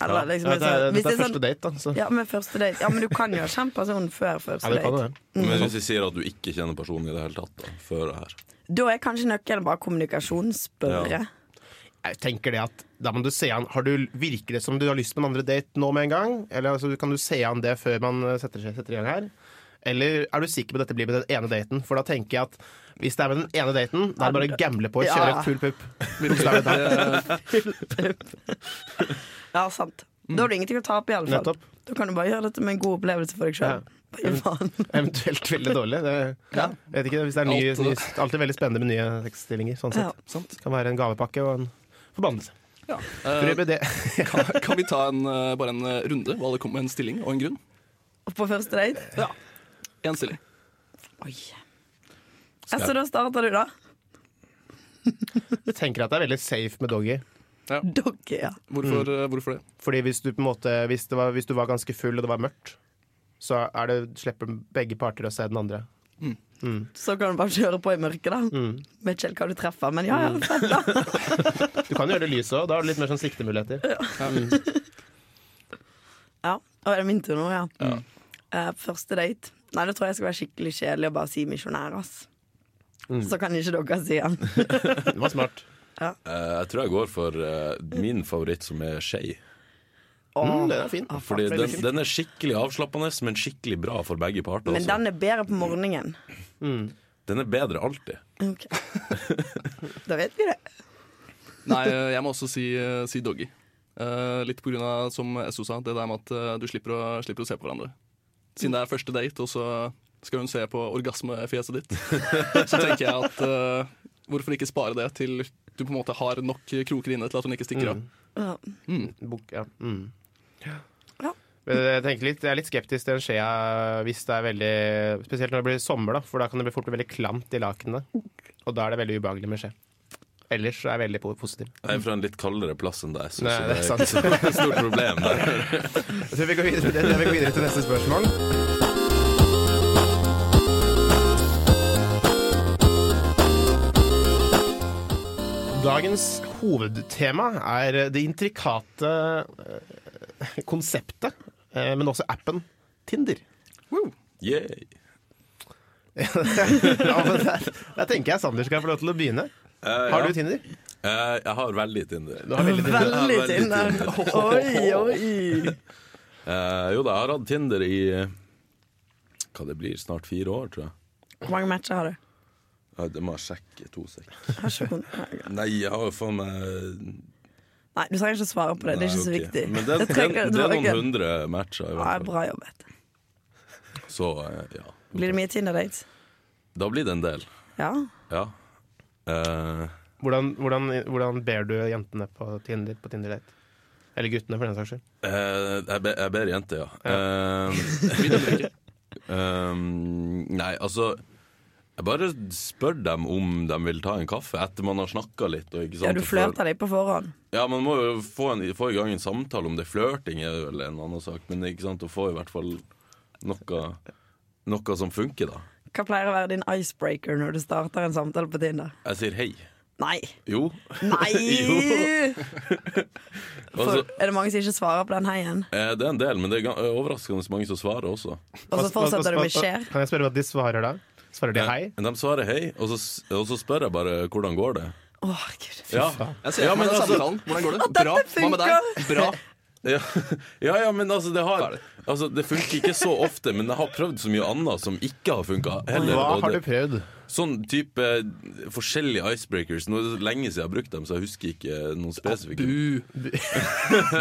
Speaker 3: Eller liksom
Speaker 2: dette er, dette er
Speaker 3: hvis det er
Speaker 2: første date, da. Så.
Speaker 3: Ja, men første date Ja, men du kan jo ha kjent personen før
Speaker 2: Ja,
Speaker 3: første
Speaker 2: det kan
Speaker 3: date.
Speaker 2: jo det.
Speaker 7: Men hvis vi sier at du ikke kjenner personen i det hele tatt, da, før det her
Speaker 3: Da er kanskje nøkkelen bare kommunikasjon. Spørre.
Speaker 2: Jeg tenker det at da må du se an Har du virker det som du har lyst på en andre date nå med en gang? Eller altså, kan du se an det før man eh, setter, seg, setter i gang her? Eller er du sikker på at dette blir med den ene daten? For da tenker jeg at hvis det er med den ene daten, da er det bare å gamble på å
Speaker 3: Ja.
Speaker 2: kjøre full pupp.
Speaker 8: virkelig, eh,
Speaker 3: Ja, sant. Da har du ingenting å tape, iallfall.
Speaker 2: Nettopp.
Speaker 3: Da kan du bare gjøre dette med en god opplevelse for deg sjøl.
Speaker 2: Eventuelt veldig dårlig. Det,
Speaker 8: Ja.
Speaker 2: vet ikke, hvis det er ny,
Speaker 8: Alt-
Speaker 2: ny, alltid veldig spennende med nye sexstillinger. Sånn
Speaker 3: Ja.
Speaker 2: sett. Det kan være en gavepakke og en forbannelse.
Speaker 8: ja.
Speaker 2: For
Speaker 8: Eh,
Speaker 2: øvrig, det-
Speaker 8: kan, kan vi ta en, eh, bare en eh, runde hvor alle kommer med en stilling og en grunn?
Speaker 3: Og på første date
Speaker 8: Ja. En stilling.
Speaker 3: Oi. Ja, Så da starter du, da.
Speaker 2: Jeg tenker at det er veldig safe med doggy. Mm.
Speaker 3: Doggy, ja.
Speaker 8: Hvorfor, eh, hvorfor det?
Speaker 2: Fordi hvis du på en måte hvis, det var, hvis du var ganske full og det var mørkt, så er det, slipper begge parter å se den andre.
Speaker 8: Mm.
Speaker 2: Mm.
Speaker 3: Så kan du bare kjøre på i mørket, da. Vet ikke helt hva du treffer, men ja, ja. fett, da.
Speaker 2: Du kan gjøre det lyset òg. Da har du litt mer sånn siktemuligheter.
Speaker 3: Ja, og er det min tur nå, ja. Eh, første date. Nei, da tror jeg jeg skal være skikkelig kjedelig og bare si misjonær, ass.
Speaker 7: Mm.
Speaker 3: Så kan ikke dere si han.
Speaker 2: Det var smart.
Speaker 7: Eh, Jeg tror jeg går for eh, min favoritt, som er skei.
Speaker 2: Mm, den er fin.
Speaker 3: Å,
Speaker 7: Fordi
Speaker 3: fuck,
Speaker 7: den, den er skikkelig avslappende, men skikkelig bra for begge parter.
Speaker 3: Men
Speaker 7: Også.
Speaker 3: den er bedre på morgenen.
Speaker 2: Mm.
Speaker 7: Den er bedre alltid.
Speaker 3: Ok. da vet vi det.
Speaker 8: Nei, eh, jeg må også si, eh, si doggy. Eh, litt på grunn av, som Esso sa, det der med at eh, du slipper å, slipper å se på hverandre. Siden det er første date, og så skal hun se på orgasmefjeset ditt, så tenker jeg at eh, hvorfor ikke spare det til du på en måte har nok kroker inne til at hun ikke stikker av.
Speaker 3: Ja.
Speaker 2: Bok, ja. Mm.
Speaker 3: Ja.
Speaker 2: Men Jeg, tenker litt, jeg er litt skeptisk til en skje hvis det er veldig Spesielt når det blir sommer, da, for da kan det bli fort bli veldig klamt i lakenet. Og da er det veldig ubehagelig med skje. Ellers er jeg veldig po- positiv.
Speaker 7: Jeg er fra en litt kaldere plass enn deg, så
Speaker 2: Nei,
Speaker 7: så
Speaker 2: det er sant.
Speaker 7: ikke så stort problem. Der.
Speaker 2: Jeg tror vi går videre, jeg tror vi går videre til neste spørsmål. Dagens hovedtema er det intrikate eh, konseptet, eh, men også appen Tinder.
Speaker 7: Yay.
Speaker 2: Ja, men der, der tenker jeg Sander skal få lov til å begynne.
Speaker 7: Eh,
Speaker 2: Har
Speaker 7: ja.
Speaker 2: du Tinder?
Speaker 7: Eh, jeg har veldig Tinder.
Speaker 2: Du har veldig Tinder.
Speaker 3: Veldig
Speaker 7: Ja, veldig
Speaker 3: Tinder. Oi, oi.
Speaker 7: Eh, jo da, jeg har hatt Tinder i eh, hva det blir, snart fire år, tror jeg.
Speaker 3: Hvor mange matcher har du?
Speaker 7: Ja, det må jeg sjekke. To sek.
Speaker 3: Har ikke kon- Nei,
Speaker 7: Nei, jeg har jo faen meg
Speaker 3: du trenger ikke å svare på det. Det er ikke så
Speaker 7: Nei, ok.
Speaker 3: viktig.
Speaker 7: Men det,
Speaker 3: Jeg
Speaker 7: det, det
Speaker 3: trenger- var
Speaker 7: er noen
Speaker 3: ikke-
Speaker 7: hundre matcher, i
Speaker 3: Ja,
Speaker 7: hvert fall.
Speaker 3: bra jobbet.
Speaker 7: Så eh, ja.
Speaker 3: Blir det mye Tinder-dates?
Speaker 7: Da blir det en del.
Speaker 3: Ja.
Speaker 7: Ja. Eh,
Speaker 2: Hvordan, hvordan, hvordan ber du jentene på Tinder på Tinder-date? Eller guttene, for den saks skyld.
Speaker 7: eh, jeg, be, jeg ber jenter, ja. Eh, um, nei, altså Jeg bare spør dem om de vil ta en kaffe etter man har snakka litt. Og, ikke sant,
Speaker 3: ja du
Speaker 7: og føl-
Speaker 3: flørter deg på forhånd.
Speaker 7: Ja, man må jo få, en, få i gang en samtale om det er flørting er vel en annen sak, men ikke sant, å få i hvert fall noe, noe som funker, da.
Speaker 3: Hva pleier å være din icebreaker når du starter en samtale på Tinder?
Speaker 7: Jeg sier hei.
Speaker 3: Nei!
Speaker 7: Jo.
Speaker 3: Nei!
Speaker 7: Jo.
Speaker 3: For,
Speaker 7: Altså,
Speaker 3: er det mange som ikke svarer på den heien?
Speaker 7: eh, det er en del, men det er gan- overraskende mange som svarer også.
Speaker 3: Og så fortsetter du med 'skjer'?
Speaker 2: Kan jeg spørre hva de svarer da? Svarer de hei?
Speaker 7: De svarer hei, og så, s- og så spør jeg bare hvordan går det.
Speaker 3: Å, herregud.
Speaker 7: Ja, altså-
Speaker 8: Jeg ser for meg den samtalen. Hvordan går det? Bra. Hva med deg? Bra.
Speaker 7: ja, ja, ja, men altså det, har, altså det funker ikke så ofte, men jeg har prøvd så mye annet som ikke har funka heller.
Speaker 2: Hva
Speaker 7: og
Speaker 2: har
Speaker 7: det-
Speaker 2: du prøvd?
Speaker 7: Sånn type eh, forskjellige icebreakers. Nå er det så lenge siden jeg har brukt dem, så jeg husker ikke eh, noen spesifikke.
Speaker 8: Ah, Bu.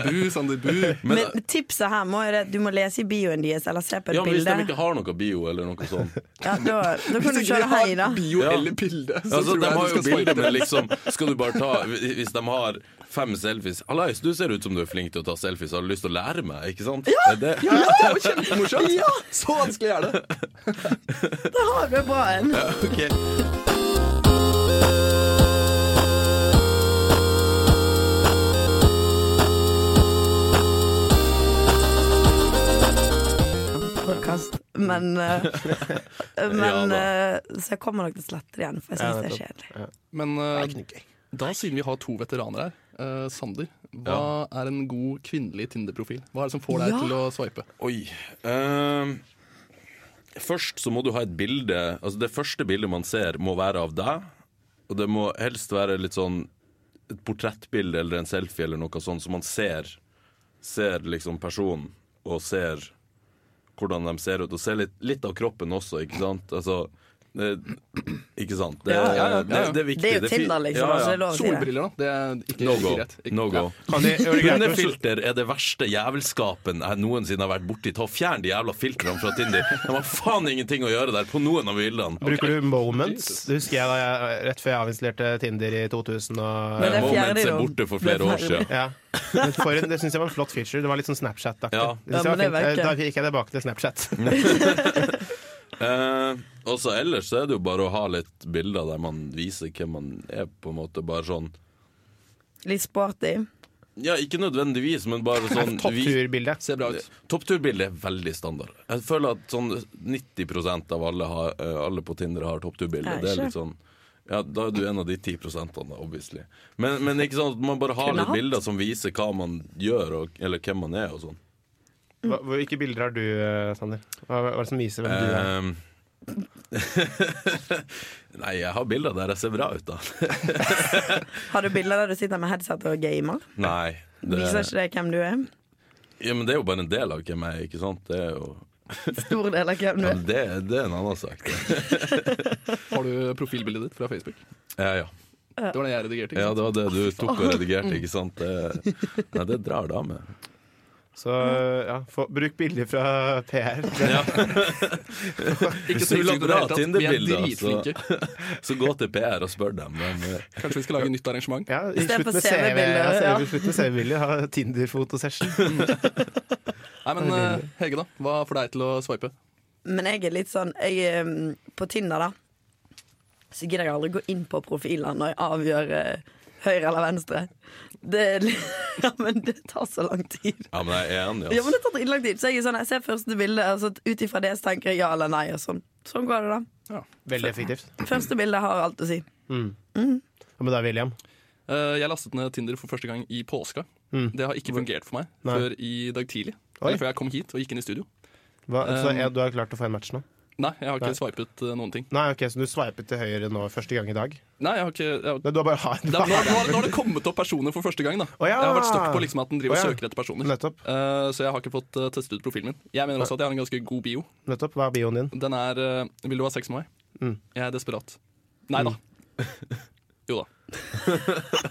Speaker 8: Bu, Sander. Bu.
Speaker 3: Men tipset her må jo det at du må lese i bioen deres, eller se på et
Speaker 7: Ja, men Hvis de
Speaker 3: bilde.
Speaker 7: ikke har noe bio eller noe sånt.
Speaker 3: Ja, da, da kan du
Speaker 8: Hvis
Speaker 3: kjøre
Speaker 8: ikke
Speaker 3: hei,
Speaker 8: vi
Speaker 3: da.
Speaker 8: har bio
Speaker 7: Ja.
Speaker 8: eller bilde, så
Speaker 7: Altså,
Speaker 8: tror
Speaker 7: de
Speaker 8: jeg
Speaker 7: har
Speaker 8: du
Speaker 7: jo
Speaker 8: skal spoile
Speaker 7: bilder, men liksom Skal du bare ta Hvis de har fem selfies Hallais, du ser ut som du er flink til å ta selfies, har du lyst til å lære meg? Ikke sant? Er det,
Speaker 8: Ja, det var kjempemorsomt! Så vanskelig er det.
Speaker 3: Da har du en bra en.
Speaker 7: Ok.
Speaker 3: Podcast. Men, eh,
Speaker 7: Ja
Speaker 3: men
Speaker 7: da.
Speaker 3: eh, Så jeg kommer nok til å slette det igjen, for jeg syns det er kjedelig.
Speaker 8: Men eh, da, siden vi har to veteraner her, eh, Sander, hva er en god kvinnelig Tinder-profil? Hva er det som får deg
Speaker 3: Ja.
Speaker 8: til å sveipe?
Speaker 7: Oi. ehm, først så må du ha et bilde Altså Det første bildet man ser, må være av deg. Og det må helst være litt sånn et portrettbilde eller en selfie eller noe sånt, så man ser, ser liksom personen og ser hvordan de ser ut. Og ser litt, litt av kroppen også, ikke sant? Altså det, Ikke sant? Det,
Speaker 8: Ja, ja, ja.
Speaker 7: Det, det er viktig.
Speaker 3: Det er jo
Speaker 7: fi-
Speaker 3: Tinder, liksom. Altså, det er lov å si det.
Speaker 8: Solbriller, da? Det er ikke
Speaker 7: No
Speaker 8: ikke
Speaker 7: go.
Speaker 8: greit. Ikke-
Speaker 7: No go.
Speaker 8: Ja.
Speaker 7: Hundefilter er det verste jævelskapen jeg noensinne har vært borti. Ta og Fjern de jævla filtrene fra Tinder. De har faen ingenting å gjøre der på noen av bildene.
Speaker 2: Bruker du moments? Det husker jeg da jeg, rett før jeg avinstallerte Tinder i 2000. Og,
Speaker 3: Men det fjerner
Speaker 7: Moments
Speaker 3: de
Speaker 7: er
Speaker 3: jo.
Speaker 7: borte for
Speaker 3: Det
Speaker 7: flere år
Speaker 3: fjerner de.
Speaker 7: siden.
Speaker 2: ja. Men for en, det syns jeg var en flott feature. Det var litt sånn Snapchat-aktig.
Speaker 7: Ja.
Speaker 2: Det synes
Speaker 3: Ja,
Speaker 2: jeg
Speaker 3: men
Speaker 2: var
Speaker 3: det
Speaker 2: fint.
Speaker 3: er
Speaker 2: Da
Speaker 3: verdt
Speaker 2: gikk jeg tilbake til Snapchat.
Speaker 7: Eh, og så ellers så er det jo bare å ha litt bilder der man viser hvem man er, på en måte. Bare sånn
Speaker 3: Litt sporty.
Speaker 7: Ja, ikke nødvendigvis, men bare sånn vi-
Speaker 2: Toppturbilde.
Speaker 8: Ser bra ut.
Speaker 7: Toppturbildet er veldig standard. Jeg føler at sånn 90 av alle, har, eh, alle på Tinder har toppturbilde.
Speaker 3: Nei,
Speaker 7: Det er
Speaker 3: ikke.
Speaker 7: litt sånn ja, Da er du en av de 10 da, obviously. Men, men ikke sant, man bare har
Speaker 3: Kunne
Speaker 7: litt
Speaker 3: hatt.
Speaker 7: bilder som viser hva man gjør, og, eller hvem man er og sånn.
Speaker 2: Hva- Hvilke bilder har du, eh, Sander? Hva hva er det som viser hvem du er?
Speaker 7: Ehm. Nei, jeg har bilder der jeg ser bra ut, da.
Speaker 3: Har du bilder der du sitter med headset og gamer?
Speaker 7: Nei.
Speaker 3: Viser
Speaker 7: Det,
Speaker 3: ikke det hvem du er?
Speaker 7: ja, men det er jo bare en del av hvem jeg er, ikke sant? Det er jo
Speaker 3: Stor del av hvem du
Speaker 7: ja,
Speaker 3: er.
Speaker 7: det, det er en annen sak. det.
Speaker 8: Har du profilbildet ditt fra Facebook?
Speaker 7: Ja, ja.
Speaker 8: Det var det jeg redigerte. ikke
Speaker 7: ja,
Speaker 8: sant?
Speaker 7: det var det du tok og redigerte, ikke sant? Det, nei, det drar da med.
Speaker 2: Så ja, få, bruk bilder fra PR.
Speaker 8: Ikke
Speaker 7: Hvis
Speaker 8: så
Speaker 7: du vil ha
Speaker 8: utsikt over
Speaker 7: bra
Speaker 8: det hele tatt. Vi er
Speaker 7: Tinder-bilder, altså.
Speaker 8: dritflinke.
Speaker 7: Så gå til PR og spør dem. Men, eh,
Speaker 8: Kanskje vi skal lage nytt arrangement?
Speaker 2: Ja,
Speaker 3: Istedenfor
Speaker 2: slutt med
Speaker 3: CV-bilder,
Speaker 2: CV-bilder.
Speaker 3: ja.
Speaker 2: Slutt med CV-bilder, ha Tinder-fotosession.
Speaker 8: Mm. Nei, men eh, Hege, da. Hva får deg til å sveipe?
Speaker 3: Men jeg er litt sånn jeg, er, mm, På Tinder, da, så gidder jeg aldri gå inn på profiler når jeg avgjør eh, høyre eller venstre. Det, er litt- ja, men det tar så lang tid.
Speaker 7: ja, men jeg er enig,
Speaker 3: Ja,
Speaker 7: altså.
Speaker 3: men det tar lang tid. Så jeg, er sånn, jeg ser første bilde, og så ut ifra det så tenker jeg ja eller nei. Og sånn. sånn går det, da.
Speaker 2: Veldig effektivt.
Speaker 8: Mm.
Speaker 3: Første bilde har alt å si.
Speaker 2: Hva med deg, William?
Speaker 8: Eh, jeg lastet ned Tinder for første gang i påska. Det har ikke fungert for meg
Speaker 2: Mm. Nei.
Speaker 8: før i dag tidlig.
Speaker 2: Oi.
Speaker 8: Eller før jeg kom hit og gikk inn i studio.
Speaker 2: Hva, så
Speaker 8: Um,
Speaker 2: jeg, du har klart å få en match nå?
Speaker 8: Nei, jeg har ikke
Speaker 2: Nei.
Speaker 8: swipet eh, noen ting.
Speaker 2: Nei, ok, Så du sveipet til høyre nå første gang i dag?
Speaker 8: Nei, jeg har ikke jeg har,
Speaker 2: Nei, du har bare ha
Speaker 8: det, er- nå, nå, har- nå har det kommet opp personer for første gang. da
Speaker 2: Å ja.
Speaker 8: Jeg har vært stuck på liksom at den driver
Speaker 2: Å ja.
Speaker 8: og søker etter personer.
Speaker 2: Nettopp.
Speaker 8: Eh, så jeg har ikke fått eh, testet ut profilen min. Jeg mener også at jeg har en ganske god bio.
Speaker 2: Nettopp. Hva er bioen din?
Speaker 8: Den er eh, 'Vil du ha sex med meg?'
Speaker 2: Mm.
Speaker 8: Jeg er desperat. Nei da. Jo da.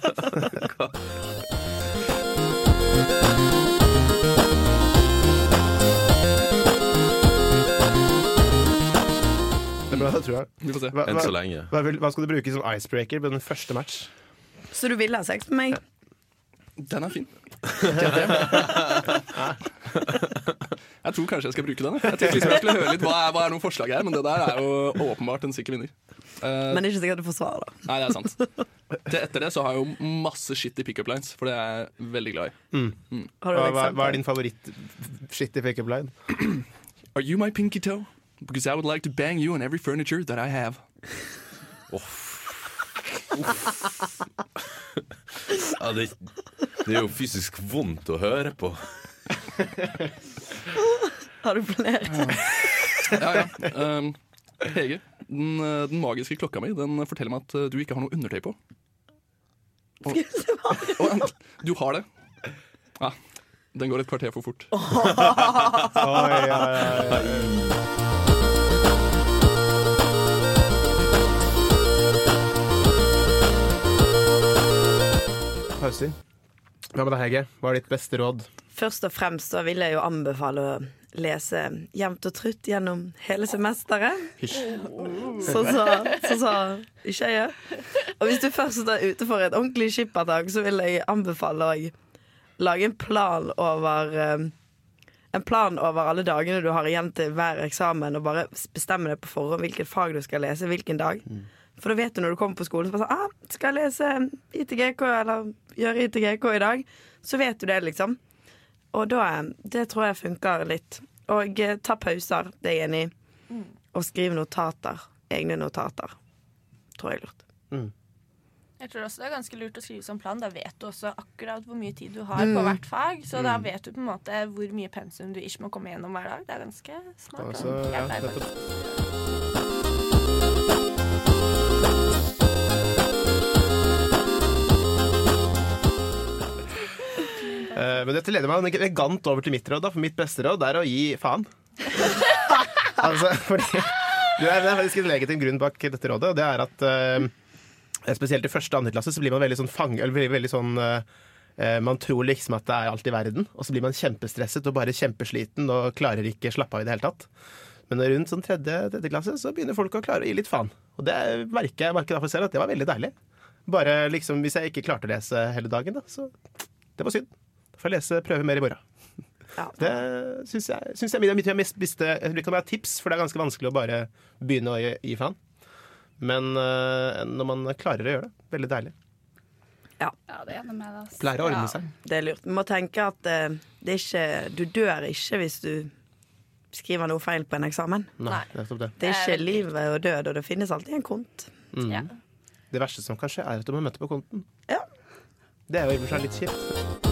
Speaker 2: Det er bra, det tror jeg.
Speaker 8: Mm. Vi får se.
Speaker 2: Hva,
Speaker 7: Enn så
Speaker 2: hva,
Speaker 7: lenge.
Speaker 2: hva, vil, hva skal du bruke som icebreaker på den første match?
Speaker 3: Så du ville ha sex med meg?
Speaker 8: Den er fin. Eh, Jeg tror kanskje jeg skal bruke den. Jeg Jeg tenkte liksom jeg skulle høre litt Hva er, hva er noen forslag her, men det der er jo åpenbart en sikker vinner. Eh,
Speaker 3: Men det er ikke sikkert du får svar, da.
Speaker 8: nei, det er sant. Til etter det så har jeg jo masse shit i pickup lines, for det er jeg veldig glad i. Mm.
Speaker 3: Har du
Speaker 2: Mm. Hva,
Speaker 3: et
Speaker 2: hva, hva
Speaker 3: eksempel?
Speaker 2: er din favoritt-shit i pickup line?
Speaker 8: Are you my pinky toe? Because I would like to bang you on every furniture that I have.
Speaker 7: Ja, det, det er jo fysisk vondt å høre på.
Speaker 3: Har du flere?
Speaker 8: Ja, ja. Um, Hege, den, eh, den magiske klokka mi den forteller meg at eh, du ikke har noe undertøy på. Og, og, du har det. Ja, den går et kvarter for fort.
Speaker 2: Oi, ja, ja, ja. Pauser. Hva med deg, Hege? Hva er ditt beste råd?
Speaker 3: Først og fremst så vil jeg jo anbefale å lese jevnt og trutt gjennom hele semesteret. Sånn som så, så, ikke jeg gjør. Og hvis du først er ute for et ordentlig skippertak, så vil jeg anbefale å lage en plan over eh, en plan over alle dagene du har igjen til hver eksamen, og bare bestemme deg på forhånd hvilket fag du skal lese hvilken dag. For da vet du når du kommer på skolen, så bare sånn ah, 'Skal jeg lese ITGK, eller gjøre ITGK i dag?' Så vet du det, liksom. Og da eh, Det tror jeg funker litt. Og eh, ta pauser, det er jeg enig i.
Speaker 9: Mm.
Speaker 3: Og skriv notater. Egne notater. Tror jeg er lurt.
Speaker 10: Jeg tror også det er ganske lurt å skrive som plan. Da vet du også akkurat hvor mye tid du har på hvert fag. Så da vet du på en måte hvor mye pensum du ikke må komme gjennom hver dag. Det er ganske smart.
Speaker 2: Altså,
Speaker 10: da.
Speaker 2: ja,
Speaker 10: Jeg pleier
Speaker 2: nettopp.
Speaker 10: faktisk-
Speaker 2: Eh, men dette leder meg elegant over til mitt råd, da, for mitt beste råd er å gi faen. altså, fordi det er, det er faktisk en legitim grunn bak dette rådet, og det er at eh, spesielt i første og andre klasse så blir man veldig sånn fang... Eller veldig, veldig sånn eh, eh, man tror liksom at det er alt i verden, og så blir man kjempestresset og bare kjempesliten og klarer ikke slappe av i det hele tatt. Men rundt sånn tredje, tredje klasse så begynner folk å klare å gi litt faen. Og det merker jeg merker derfor selv at det var veldig deilig. Bare liksom hvis jeg ikke klarte å lese hele dagen, da, så det var synd. Da får jeg lese prøve mer i morgen.
Speaker 3: Ja.
Speaker 2: Det syns jeg, syns jeg er mitt mest beste Jeg vet ikke om det er tips, for det er ganske vanskelig å bare begynne å gi, gi faen. Men øh, når man klarer å gjøre det, veldig deilig.
Speaker 9: Ja, det er noe med det. ass.
Speaker 2: Pleier å ordne
Speaker 9: Ja.
Speaker 2: seg.
Speaker 3: Det er lurt. Vi må tenke at eh, det er ikke, du dør ikke hvis du skriver noe feil på en eksamen.
Speaker 2: Nei, nettopp det.
Speaker 9: Det
Speaker 3: Det er
Speaker 9: er
Speaker 3: ikke livet og død, og det finnes alltid en kont.
Speaker 9: Ja.
Speaker 2: Mm. Det verste som kan skje, er at du må møte på konten.
Speaker 3: Ja.
Speaker 2: Det er jo i og for seg litt kjipt.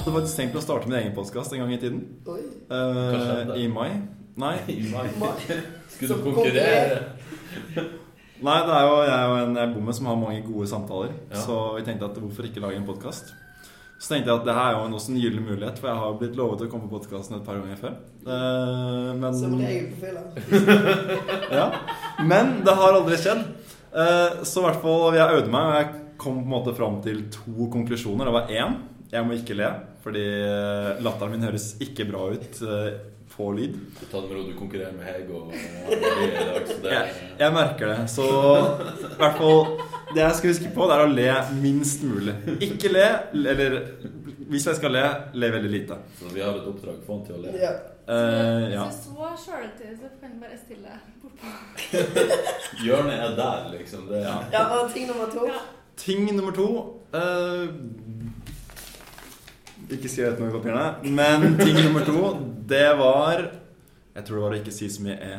Speaker 11: Jeg hadde faktisk tenkt å starte min egen podkast en gang i tiden. Eh, I mai. Nei.
Speaker 7: Skulle du konkurrere?
Speaker 11: Nei, det er jo jeg og en bomme som har mange gode samtaler. Så vi tenkte at hvorfor ikke lage en podkast? Så tenkte jeg at det her er jo en- også en gyllen mulighet, for jeg har jo blitt lovet å komme på podkasten et par ganger før. Eh, men ja. Men det har aldri skjedd. Eh, Så i hvert fall, jeg øvde meg, og jeg kom på en måte fram til to konklusjoner. Det var én jeg må ikke le, fordi eh, latteren min høres ikke bra ut eh, på lyd.
Speaker 7: Ta det med ro, du konkurrerer med Hege og Marie i dag, så det
Speaker 11: Jeg, jeg merker det. Så i hvert fall Det jeg skal huske på, det er å le minst mulig. Ikke le, eller hvis jeg skal le, le veldig lite.
Speaker 7: så vi har et oppdrag. Få han til å le.
Speaker 11: Eh, ja.
Speaker 9: Så så sjølhøytidelig, så kan du bare stille bortpå.
Speaker 7: Hjørnet er der, liksom. Det er
Speaker 3: Ja, og ting nummer to.
Speaker 11: Ting nummer to eh, Ikke skriv ut noe i papirene. Men ting nummer to, det var Jeg tror det var å ikke si så mye e.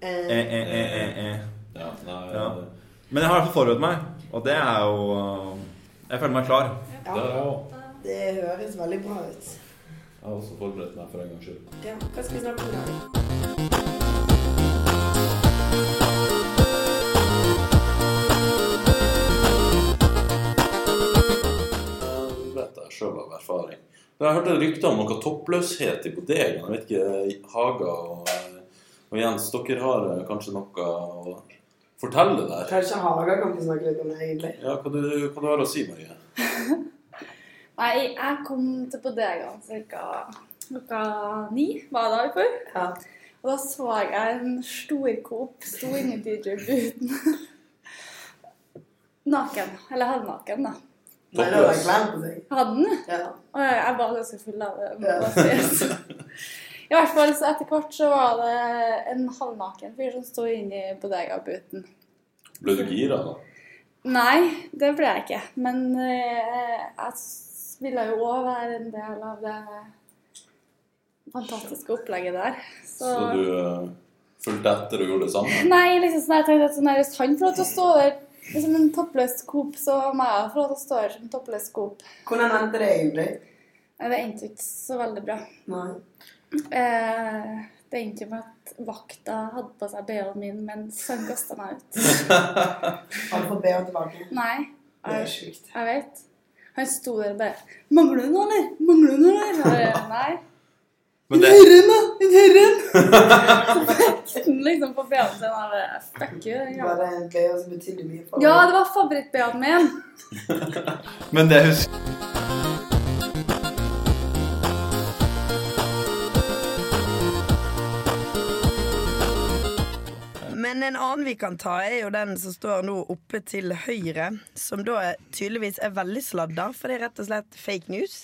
Speaker 11: E, e, e, e, e.
Speaker 7: Ja, nei,
Speaker 11: Ja. Men jeg har i hvert fall forberedt meg, og det er jo uh, Jeg føler meg klar.
Speaker 12: Det høres veldig bra ut.
Speaker 7: Jeg har også forberedt meg for en gangs skyld.
Speaker 12: Ja, hva skal vi snakke om i dag?
Speaker 7: vet jeg sjøl av erfaring. Men jeg hørte rykter om noe toppløshet i bodegaen. Jeg vet ikke, Haga og, og Jens, dere har eh, kanskje noe å fortelle der?
Speaker 12: Kanskje Haga kan vi snakke litt om det, egentlig.
Speaker 7: Ja, hva du, hva du har å si, Marie?
Speaker 9: Nei, jeg kom til bodegaen cirka klokka ni, var det da i går?
Speaker 12: Ja.
Speaker 9: Og da så jeg en storkopp sto inni DJ-booten. Naken. Eller halvnaken, da.
Speaker 12: Nei, det var klær på seg.
Speaker 9: Hadde den?
Speaker 12: Ja.
Speaker 9: Og jeg jeg var ganske full av det. må bare sies. I hvert fall så etter hvert så var det en halvnaken fyr som sto inni bodega-booten.
Speaker 7: Ble du gira da?
Speaker 9: Nei, det ble jeg ikke. Men eh, jeg s- ville jo òg være en del av det fantastiske opplegget der. Så,
Speaker 7: Så du eh, fulgte etter og gjorde det samme?
Speaker 9: Nei, liksom sånn, jeg tenkte at sånn, her, hvis han får lov til å stå der som en toppløs Coop, så må jeg få lov til å stå der som toppløs Coop.
Speaker 12: Hvordan endte det egentlig?
Speaker 9: Nei, Det endte ikke så veldig bra.
Speaker 12: Nei.
Speaker 9: Eh, det endte jo med at vakta hadde på seg BH-en min mens han kasta meg ut.
Speaker 12: Har du fått BH tilbake?
Speaker 9: Nei.
Speaker 12: Det er sjukt.
Speaker 9: Jeg vet. Han sto der og bare 'Mangler du noe, eller? Mangler du noe, eller?' Og jeg, Nei.
Speaker 7: Men
Speaker 9: En
Speaker 7: det-
Speaker 9: herren, da! En herren! Så fikk han liksom på BH-en sin. og Jeg bare Fuck you. den
Speaker 12: Var
Speaker 9: jævla-
Speaker 12: det en BH som betydde mye for
Speaker 9: Ja, det var favoritt-BH-en min.
Speaker 11: Men det husker
Speaker 3: Men en annen vi kan ta, er jo den som står nå oppe til høyre, som da er- tydeligvis er veldig sladda, for det er rett og slett fake news.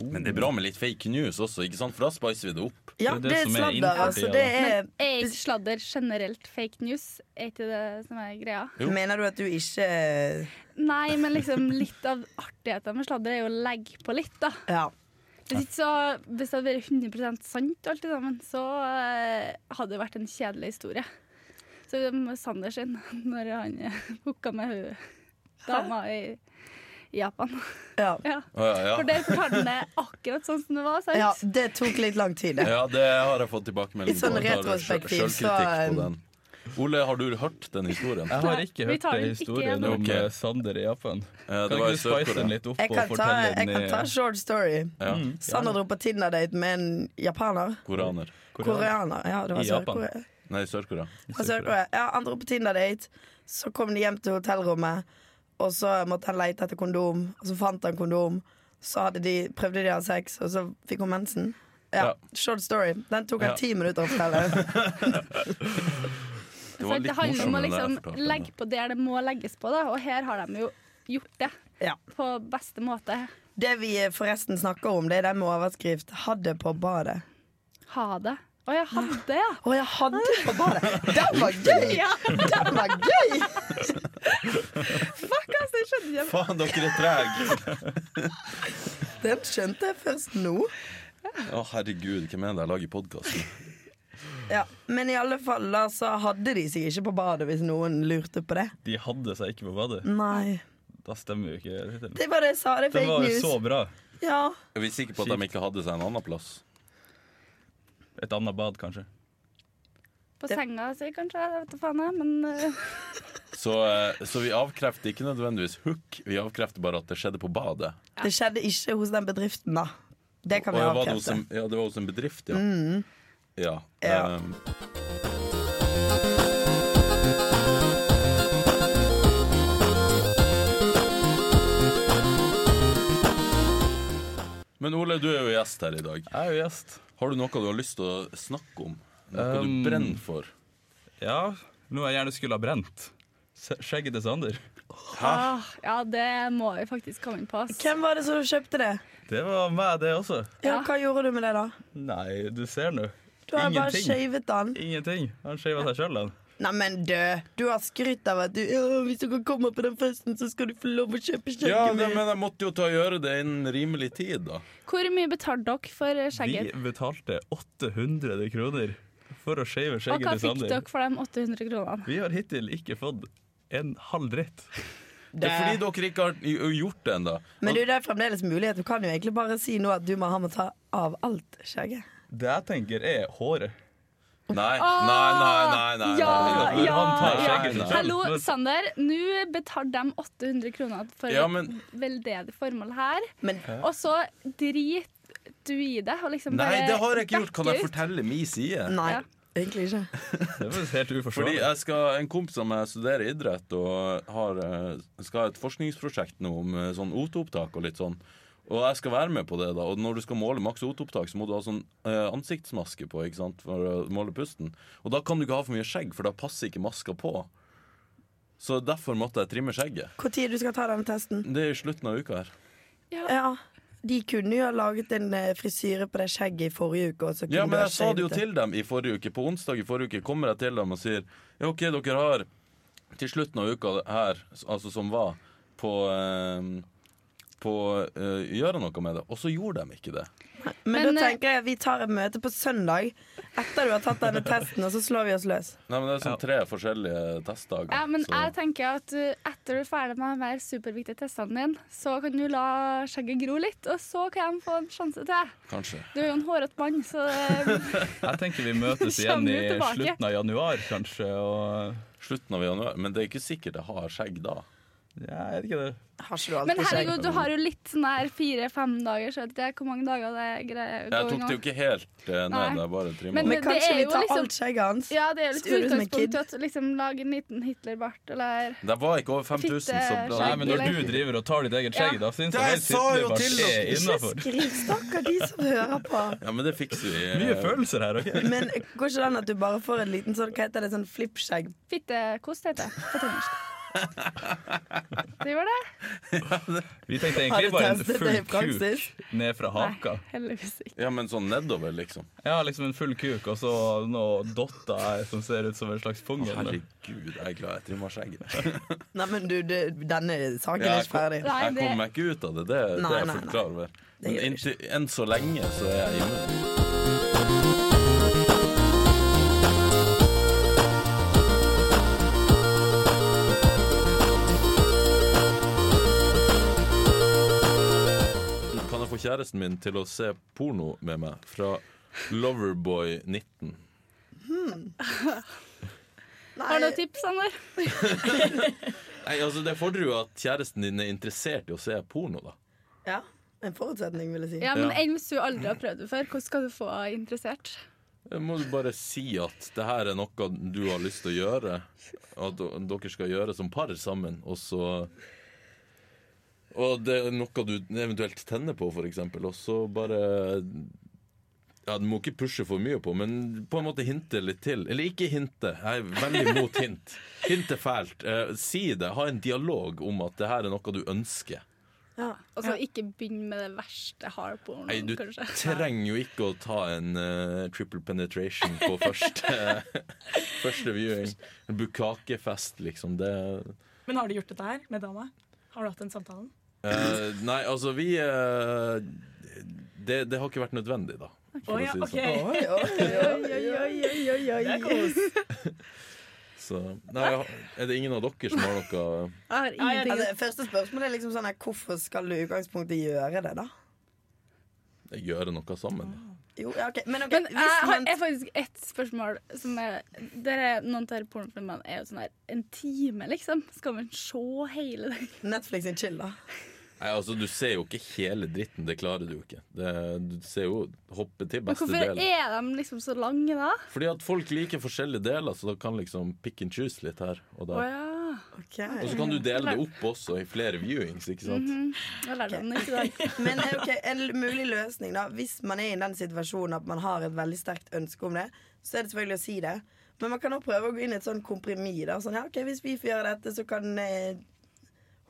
Speaker 1: Men det er bra med litt fake news også, ikke sant? for da spicer vi det opp.
Speaker 3: Ja, det er sladder, altså. Det er
Speaker 13: Men er ikke sladder generelt fake news? Er ikke det som er greia?
Speaker 3: Mener du at du ikke
Speaker 13: Nei, men liksom litt av artigheten med sladder er jo å legge på litt, da.
Speaker 3: Ja.
Speaker 13: Hvis, ikke så, hvis det hadde vært 100 sant alt i sammen, så eh, hadde det vært en kjedelig historie. Så det med Sander sin, når han eh, hooka med hun dama i i Japan.
Speaker 3: Ja.
Speaker 7: Å, ja, ja.
Speaker 13: For der fortalte han det akkurat sånn som det var, sant?
Speaker 3: Ja, det tok litt lang tid, det.
Speaker 7: Ja, det har jeg fått tilbakemelding
Speaker 3: I sånn
Speaker 7: Jeg tar
Speaker 3: retrospektiv,
Speaker 7: sjøl-
Speaker 3: så,
Speaker 7: sjølkritikk på
Speaker 3: eh,
Speaker 7: den. Ole, har du hørt den historien?
Speaker 14: Jeg har ikke hørt den historien om
Speaker 7: Ok.
Speaker 14: eh, Sander i Japan.
Speaker 7: det
Speaker 14: Kan
Speaker 7: var
Speaker 14: ikke
Speaker 7: i
Speaker 14: du spice
Speaker 7: Sør-Korea.
Speaker 14: den litt opp
Speaker 3: Jeg kan
Speaker 14: og
Speaker 3: ta,
Speaker 14: fortelle
Speaker 3: jeg
Speaker 14: den
Speaker 3: kan ta short story.
Speaker 14: Ja. Mm.
Speaker 3: Sander dro på Tinder-date med en japaner.
Speaker 7: Koreaner.
Speaker 3: Koreaner. Ja, det var
Speaker 7: I Japan.
Speaker 3: Sør-Korea.
Speaker 7: Nei, Sør-Korea.
Speaker 3: Han søkte det. Ja, han dro på Tinder-date, så kom de hjem til hotellrommet, og så måtte han lete etter kondom, og så fant han kondom. Så hadde de, prøvde de å ha sex, og så fikk hun mensen. Ja,
Speaker 7: Ja.
Speaker 3: Short story. Den tok han
Speaker 7: Ja.
Speaker 3: ti minutter å fortelle.
Speaker 13: Det, det handler om å liksom legge på der det må legges på, da. og her har de jo gjort det på beste måte.
Speaker 3: Det vi forresten snakker om, det er den med overskrift 'Hadde på badet'.
Speaker 13: Ha det. Å, jeg hadde, ja.
Speaker 3: Å, jeg hadde på badet. Den var gøy!
Speaker 13: Ja.
Speaker 3: Den var gøy!
Speaker 13: Fuck, altså, jeg skjønner ikke
Speaker 7: Faen, dere er trege!
Speaker 3: Den skjønte jeg først nå.
Speaker 7: Å, herregud, hvem er det jeg lager podkast med?
Speaker 3: Ja, Men i alle fall da, så hadde de seg ikke på badet, hvis noen lurte på det.
Speaker 14: De hadde seg ikke på badet.
Speaker 3: Nei.
Speaker 14: Da stemmer jo ikke tittelen.
Speaker 3: Det var det jeg sa, det er
Speaker 14: Den
Speaker 3: fake
Speaker 14: var jo
Speaker 3: news.
Speaker 14: så bra.
Speaker 3: Ja.
Speaker 7: Er vi sikre på at de ikke hadde seg en annen plass?
Speaker 14: Et annet bad, kanskje.
Speaker 13: På senga si, kanskje. Jeg vet da faen, jeg. Men eh,
Speaker 7: Så, eh, så vi avkrefter ikke nødvendigvis hook, vi avkrefter bare at det skjedde på badet.
Speaker 3: Det skjedde ikke hos den bedriften, da. Det kan
Speaker 7: Og
Speaker 3: vi
Speaker 7: var det hos
Speaker 3: avkrefte.
Speaker 7: en- ja, det var hos en bedrift, ja.
Speaker 3: Mm.
Speaker 7: Ja.
Speaker 3: Ja.
Speaker 7: ehm. Men Ole, du er jo gjest her i dag.
Speaker 14: Jeg er jo gjest.
Speaker 7: Har du noe du har lyst til å snakke om? Noe
Speaker 14: Um,
Speaker 7: du brenner for?
Speaker 14: Ja, noe jeg gjerne skulle ha brent. Se- Skjegget til Sander.
Speaker 13: ah, ja, det må vi faktisk komme inn på. ass.
Speaker 3: Hvem var det som kjøpte det?
Speaker 14: Det var meg, det også.
Speaker 3: Ja, Hva gjorde du med det, da?
Speaker 14: Nei, du ser nå.
Speaker 3: Du har bare
Speaker 14: Ingenting.
Speaker 3: shavet den.
Speaker 14: Ingenting. Han skjeva seg sjøl, han.
Speaker 3: Neimen, du! Du har skrytt av at du «Ja, 'Hvis dere kommer på den festen, så skal du få lov å kjøpe skjegget
Speaker 7: Ja, det,
Speaker 3: mitt'.
Speaker 7: men jeg måtte jo ta og gjøre det innen rimelig tid, da.
Speaker 13: Hvor mye betalte dere for eh,
Speaker 14: Vi
Speaker 13: skjegget?
Speaker 14: betalte 800 kroner for å shave
Speaker 13: Og hva
Speaker 14: skjegget til
Speaker 13: fikk
Speaker 14: Sander.
Speaker 13: dere for de 800 kronene?
Speaker 14: Vi har hittil ikke fått en halv dritt.
Speaker 7: Det er fordi dere ikke har gj- gjort det ennå.
Speaker 3: Men du, det er fremdeles mulighet. Du kan jo egentlig bare si nå at du må ha med å ta av alt skjegget.
Speaker 14: Det jeg tenker, er håret.
Speaker 7: Nei,
Speaker 13: Ah,
Speaker 7: nei, nei, nei, nei.
Speaker 13: Ja,
Speaker 7: Nei,
Speaker 13: ja,
Speaker 7: han tar skjegget
Speaker 13: ja.
Speaker 7: sitt selv.
Speaker 13: Hallo,
Speaker 7: Nå-
Speaker 13: Sander. Nå betalte de 800 kroner for
Speaker 7: Ja, men-
Speaker 13: et veldedig formål her,
Speaker 3: Men-
Speaker 13: og så driter du i det og liksom
Speaker 7: Nei,
Speaker 13: bare
Speaker 7: det har jeg ikke gjort. Kan jeg
Speaker 13: dekker ut.
Speaker 7: fortelle min side?
Speaker 3: Nei, egentlig ikke.
Speaker 14: Det var helt
Speaker 7: Fordi
Speaker 14: uforståelig.
Speaker 7: jeg skal, En kompis av meg studerer idrett og har, eh, skal ha et forskningsprosjekt nå om eh, sånn O2-opptak og litt sånn. Og jeg skal være med på det. da Og når du skal måle maks O2-opptak, så må du ha sånn eh, ansiktsmaske på ikke sant, for å måle pusten. Og da kan du ikke ha for mye skjegg, for da passer ikke maska på. Så derfor måtte jeg trimme skjegget.
Speaker 3: Når du skal ta den testen?
Speaker 7: Det er i slutten av uka her.
Speaker 13: Ja.
Speaker 3: De kunne jo ha laget en eh, frisyre på det skjegget i forrige uke. Og så kunne
Speaker 7: Ja, men
Speaker 3: du ha
Speaker 7: jeg sa det jo
Speaker 3: shavet
Speaker 7: til dem i forrige uke. På onsdag i forrige uke kommer jeg til dem og sier Ja, OK, dere har til slutten av uka her, altså som var, på, eh, på eh, gjøre noe med det. Og så gjorde de ikke det.
Speaker 3: Men, eh, da tenker jeg at vi tar et møte på søndag etter du har tatt denne testen, og så slår vi oss løs.
Speaker 7: Nei, men Det er sånn tre forskjellige testdager.
Speaker 13: Ja, men
Speaker 7: så-
Speaker 13: jeg tenker at uh, etter du er ferdig med de her superviktige testene dine, så kan du la skjegget gro litt, og så kan jeg få en sjanse til.
Speaker 7: Kanskje.
Speaker 13: Du er jo en hårete mann, så eh,
Speaker 14: Jeg tenker vi møtes igjen
Speaker 13: Kommer
Speaker 14: i
Speaker 13: jo tilbake.
Speaker 14: slutten av januar, kanskje. Og
Speaker 7: Slutten av januar. Men det er ikke sikkert jeg har skjegg da.
Speaker 14: Ja, er det ikke det?
Speaker 13: Men herregud, du har jo litt sånn her fire-fem dager, så vet jeg hvor mange dager det er greier.
Speaker 7: Jeg tok det jo ikke helt eh, ned.
Speaker 13: Nei.
Speaker 7: Jeg bare trimma.
Speaker 13: Men,
Speaker 7: det.
Speaker 13: det
Speaker 3: kanskje
Speaker 13: er
Speaker 3: vi
Speaker 13: jo
Speaker 3: tar
Speaker 13: liksom,
Speaker 3: alt skjegget hans?
Speaker 13: Ja, det er jo litt
Speaker 3: Ser ut som en kid.
Speaker 13: utgangspunktet at liksom lage en liten Hitlerbart eller
Speaker 7: Det var ikke over 5000,
Speaker 3: eh,
Speaker 7: så
Speaker 13: Fitte-
Speaker 7: bra.
Speaker 14: Nei, men når du driver og tar ditt eget skjegg,
Speaker 13: Ja.
Speaker 14: da syns
Speaker 7: Det
Speaker 14: jeg helt
Speaker 7: sa jeg jo
Speaker 14: sittende
Speaker 7: til
Speaker 14: bare
Speaker 7: dere.
Speaker 14: er innafor.
Speaker 3: Skriv, stakkar de som hører på.
Speaker 7: Ja, men det fikser vi. eh,
Speaker 14: Mye følelser her, OK?
Speaker 3: Men går ikke det an at du bare får en liten sånn, hva heter det, sånn flippskjegg?
Speaker 13: Fittekost heter det på trøndersk. Det gjør det?
Speaker 14: Vi tenkte
Speaker 3: Har du
Speaker 14: egentlig bare en
Speaker 3: testet det i
Speaker 14: full
Speaker 3: praksis?
Speaker 14: kuk ned fra haka.
Speaker 13: Heldigvis ikke.
Speaker 7: Ja, men sånn nedover, liksom.
Speaker 14: Ja, liksom en full kuk og så noe dotter her som ser ut som en slags pungel.
Speaker 7: Herregud, jeg er glad jeg trimma skjegget.
Speaker 3: Nei, men du, det, denne saken
Speaker 7: Ja,
Speaker 3: er
Speaker 7: jeg
Speaker 3: ikke ferdig.
Speaker 7: kom- Jeg kommer meg ikke ut av det, det, det
Speaker 3: Nei,
Speaker 7: er jeg
Speaker 3: nei,
Speaker 7: fullt
Speaker 3: nei.
Speaker 7: klar over. Men inntil, enn så lenge så er jeg hjemme. Kan jeg få kjæresten min til å se porno med meg fra Loverboy19?
Speaker 3: Hmm.
Speaker 13: Har du noen tips, Sander?
Speaker 7: Nei, altså Det fordrer jo at kjæresten din er interessert i å se porno, da.
Speaker 3: Ja, en forutsetning, vil jeg si.
Speaker 13: Ja, men
Speaker 7: Ja.
Speaker 13: enn hvis du aldri har prøvd det før, hvordan skal du få interessert?
Speaker 7: Må du bare si at det her er noe du har lyst til å gjøre? At d- dere skal gjøre som par sammen, og så Og det er noe du eventuelt tenner på, f.eks., og så bare ja, Du må ikke pushe for mye på, men på en måte hinte litt til. Eller ikke hinte. Jeg er veldig mot hint. Hint er fælt. Eh, si det. Ha en dialog om at det her er noe du ønsker.
Speaker 13: Altså, ikke begynn med det verste hardpornoen,
Speaker 7: Nei, du
Speaker 13: kanskje.
Speaker 7: trenger jo ikke å ta en eh, triple penetration på første, første viewing. En bukakefest, liksom. Det
Speaker 15: Men har du gjort dette her med dama? Har du hatt den samtalen?
Speaker 7: eh, Nei, altså, vi eh, det, det har ikke vært nødvendig, da. for
Speaker 15: Å
Speaker 7: å
Speaker 15: ja,
Speaker 7: si det
Speaker 15: ok.
Speaker 7: sånn.
Speaker 3: Oi, oi, oi, oi, oi, oi, oi, oi.
Speaker 15: Det er kos.
Speaker 7: Så, nei, jeg har- er det ingen av dere som har noe
Speaker 3: Altså, første spørsmål er liksom sånn her, hvorfor skal du i utgangspunktet gjøre det, da?
Speaker 7: Gjøre noe sammen?
Speaker 3: Jo, ja, ok. Men, ok,
Speaker 13: Men
Speaker 3: hvis
Speaker 13: jeg har
Speaker 3: man-
Speaker 13: jeg har faktisk ett spørsmål som er Der er noen av pornofilmene er jo sånn her en time, liksom. Skal man se hele den?
Speaker 3: Netflix sin chill, da.
Speaker 7: Nei, altså, Du ser jo ikke hele dritten. Det klarer du jo ikke. Det, du ser jo hoppe til
Speaker 13: Men
Speaker 7: beste
Speaker 13: hvorfor
Speaker 7: del.
Speaker 13: er de liksom så lange da?
Speaker 7: Fordi at folk liker forskjellige deler, så da kan liksom pick and choose litt her og
Speaker 13: Å
Speaker 7: der.
Speaker 13: ja.
Speaker 7: Og så kan du dele det opp også i flere viewings, ikke sant?
Speaker 13: Mhm. Jeg lærte den ikke i dag.
Speaker 3: Men eh, ok, en mulig løsning da Hvis man er i den situasjonen at man har et veldig sterkt ønske om det Så er det selvfølgelig å si det Men man kan også prøve å gå inn i et sånn kompromis da Sånn, ja, ok, hvis vi får gjøre dette Så kan eh,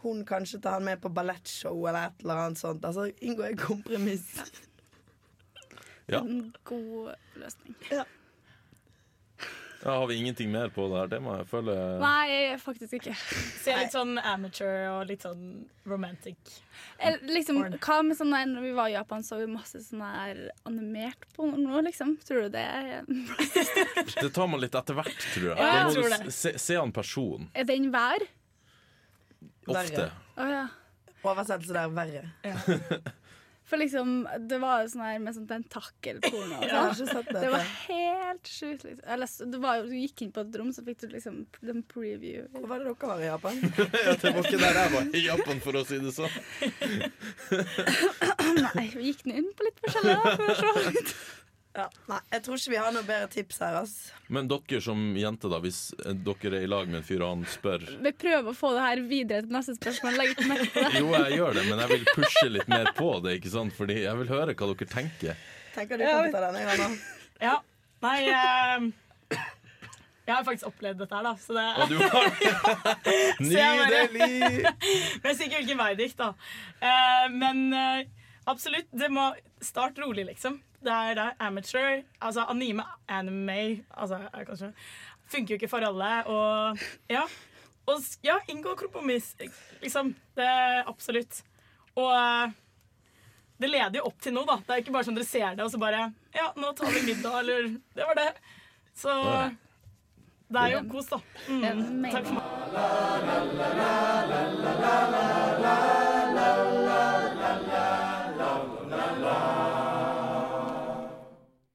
Speaker 3: hun kanskje ta han med på ballettshow Eller et eller annet sånt Altså, inngå en kompromiss
Speaker 7: Ja.
Speaker 13: En god løsning.
Speaker 7: Ja, har vi ingenting mer på det her temaet? Jeg føler
Speaker 13: Nei, faktisk ikke.
Speaker 15: Ser litt sånn amateur og litt sånn romantic.
Speaker 13: Eller liksom, hva med sånn der, Når vi var i Japan, så vi masse sånn her animert på noe, liksom. Tror du det er
Speaker 7: Det tar man litt etter hvert, tror jeg.
Speaker 13: Ja, jeg
Speaker 7: Det må
Speaker 13: tror
Speaker 7: du
Speaker 13: det.
Speaker 7: Se, se han personen.
Speaker 13: Er den vær?
Speaker 7: Ofte.
Speaker 13: Å ja.
Speaker 3: Oversettelse der verre.
Speaker 13: For liksom, det var jo sånn her med sånn tentakelporno. og
Speaker 3: Ja, jeg har
Speaker 13: sånn.
Speaker 3: ikke sett det.
Speaker 13: det var helt sjukt. Liksom. Eller, så- det var jo, du gikk inn på et rom, så fikk du liksom den preview. Hva
Speaker 3: var det dere var i Japan?
Speaker 7: Ja, det var ikke der jeg var i Japan, for å si det sånn.
Speaker 13: Nei, vi gikk nå inn på litt forskjellig, da, for å se litt.
Speaker 3: Ja, nei, jeg tror ikke vi har noe bedre tips her, ass.
Speaker 7: Men dere som jenter, da, hvis eh, dere er i lag med en fyr og han spør
Speaker 13: Vi prøver å få det her videre til neste spørsmål. Legg ikke merke til det.
Speaker 7: Jo, jeg gjør det, men jeg vil pushe litt mer på det, ikke sant? Fordi jeg vil høre hva dere tenker.
Speaker 3: Tenker du kan ta den, jeg, Anna?
Speaker 15: Ja. Nei eh, Jeg har faktisk opplevd dette her, da. Så det
Speaker 7: Og du har
Speaker 15: Så jeg bare-
Speaker 7: Nydelig!
Speaker 15: Men jeg sier ikke hvilken vei det gikk, da. Eh, men eh, absolutt, det må start rolig, liksom. Det er, det er amateur. Altså anime, anime altså, er kanskje Funker jo ikke for alle. Og ja, og, s- ja inngå kompromiss, liksom. Det er absolutt. Og eh, det leder jo opp til noe, da. Det er ikke bare sånn dere ser det, og så bare Ja, nå tar vi middag, eller Det var det. Så
Speaker 7: Ja.
Speaker 15: det er jo kos, da. Mm. Takk for meg.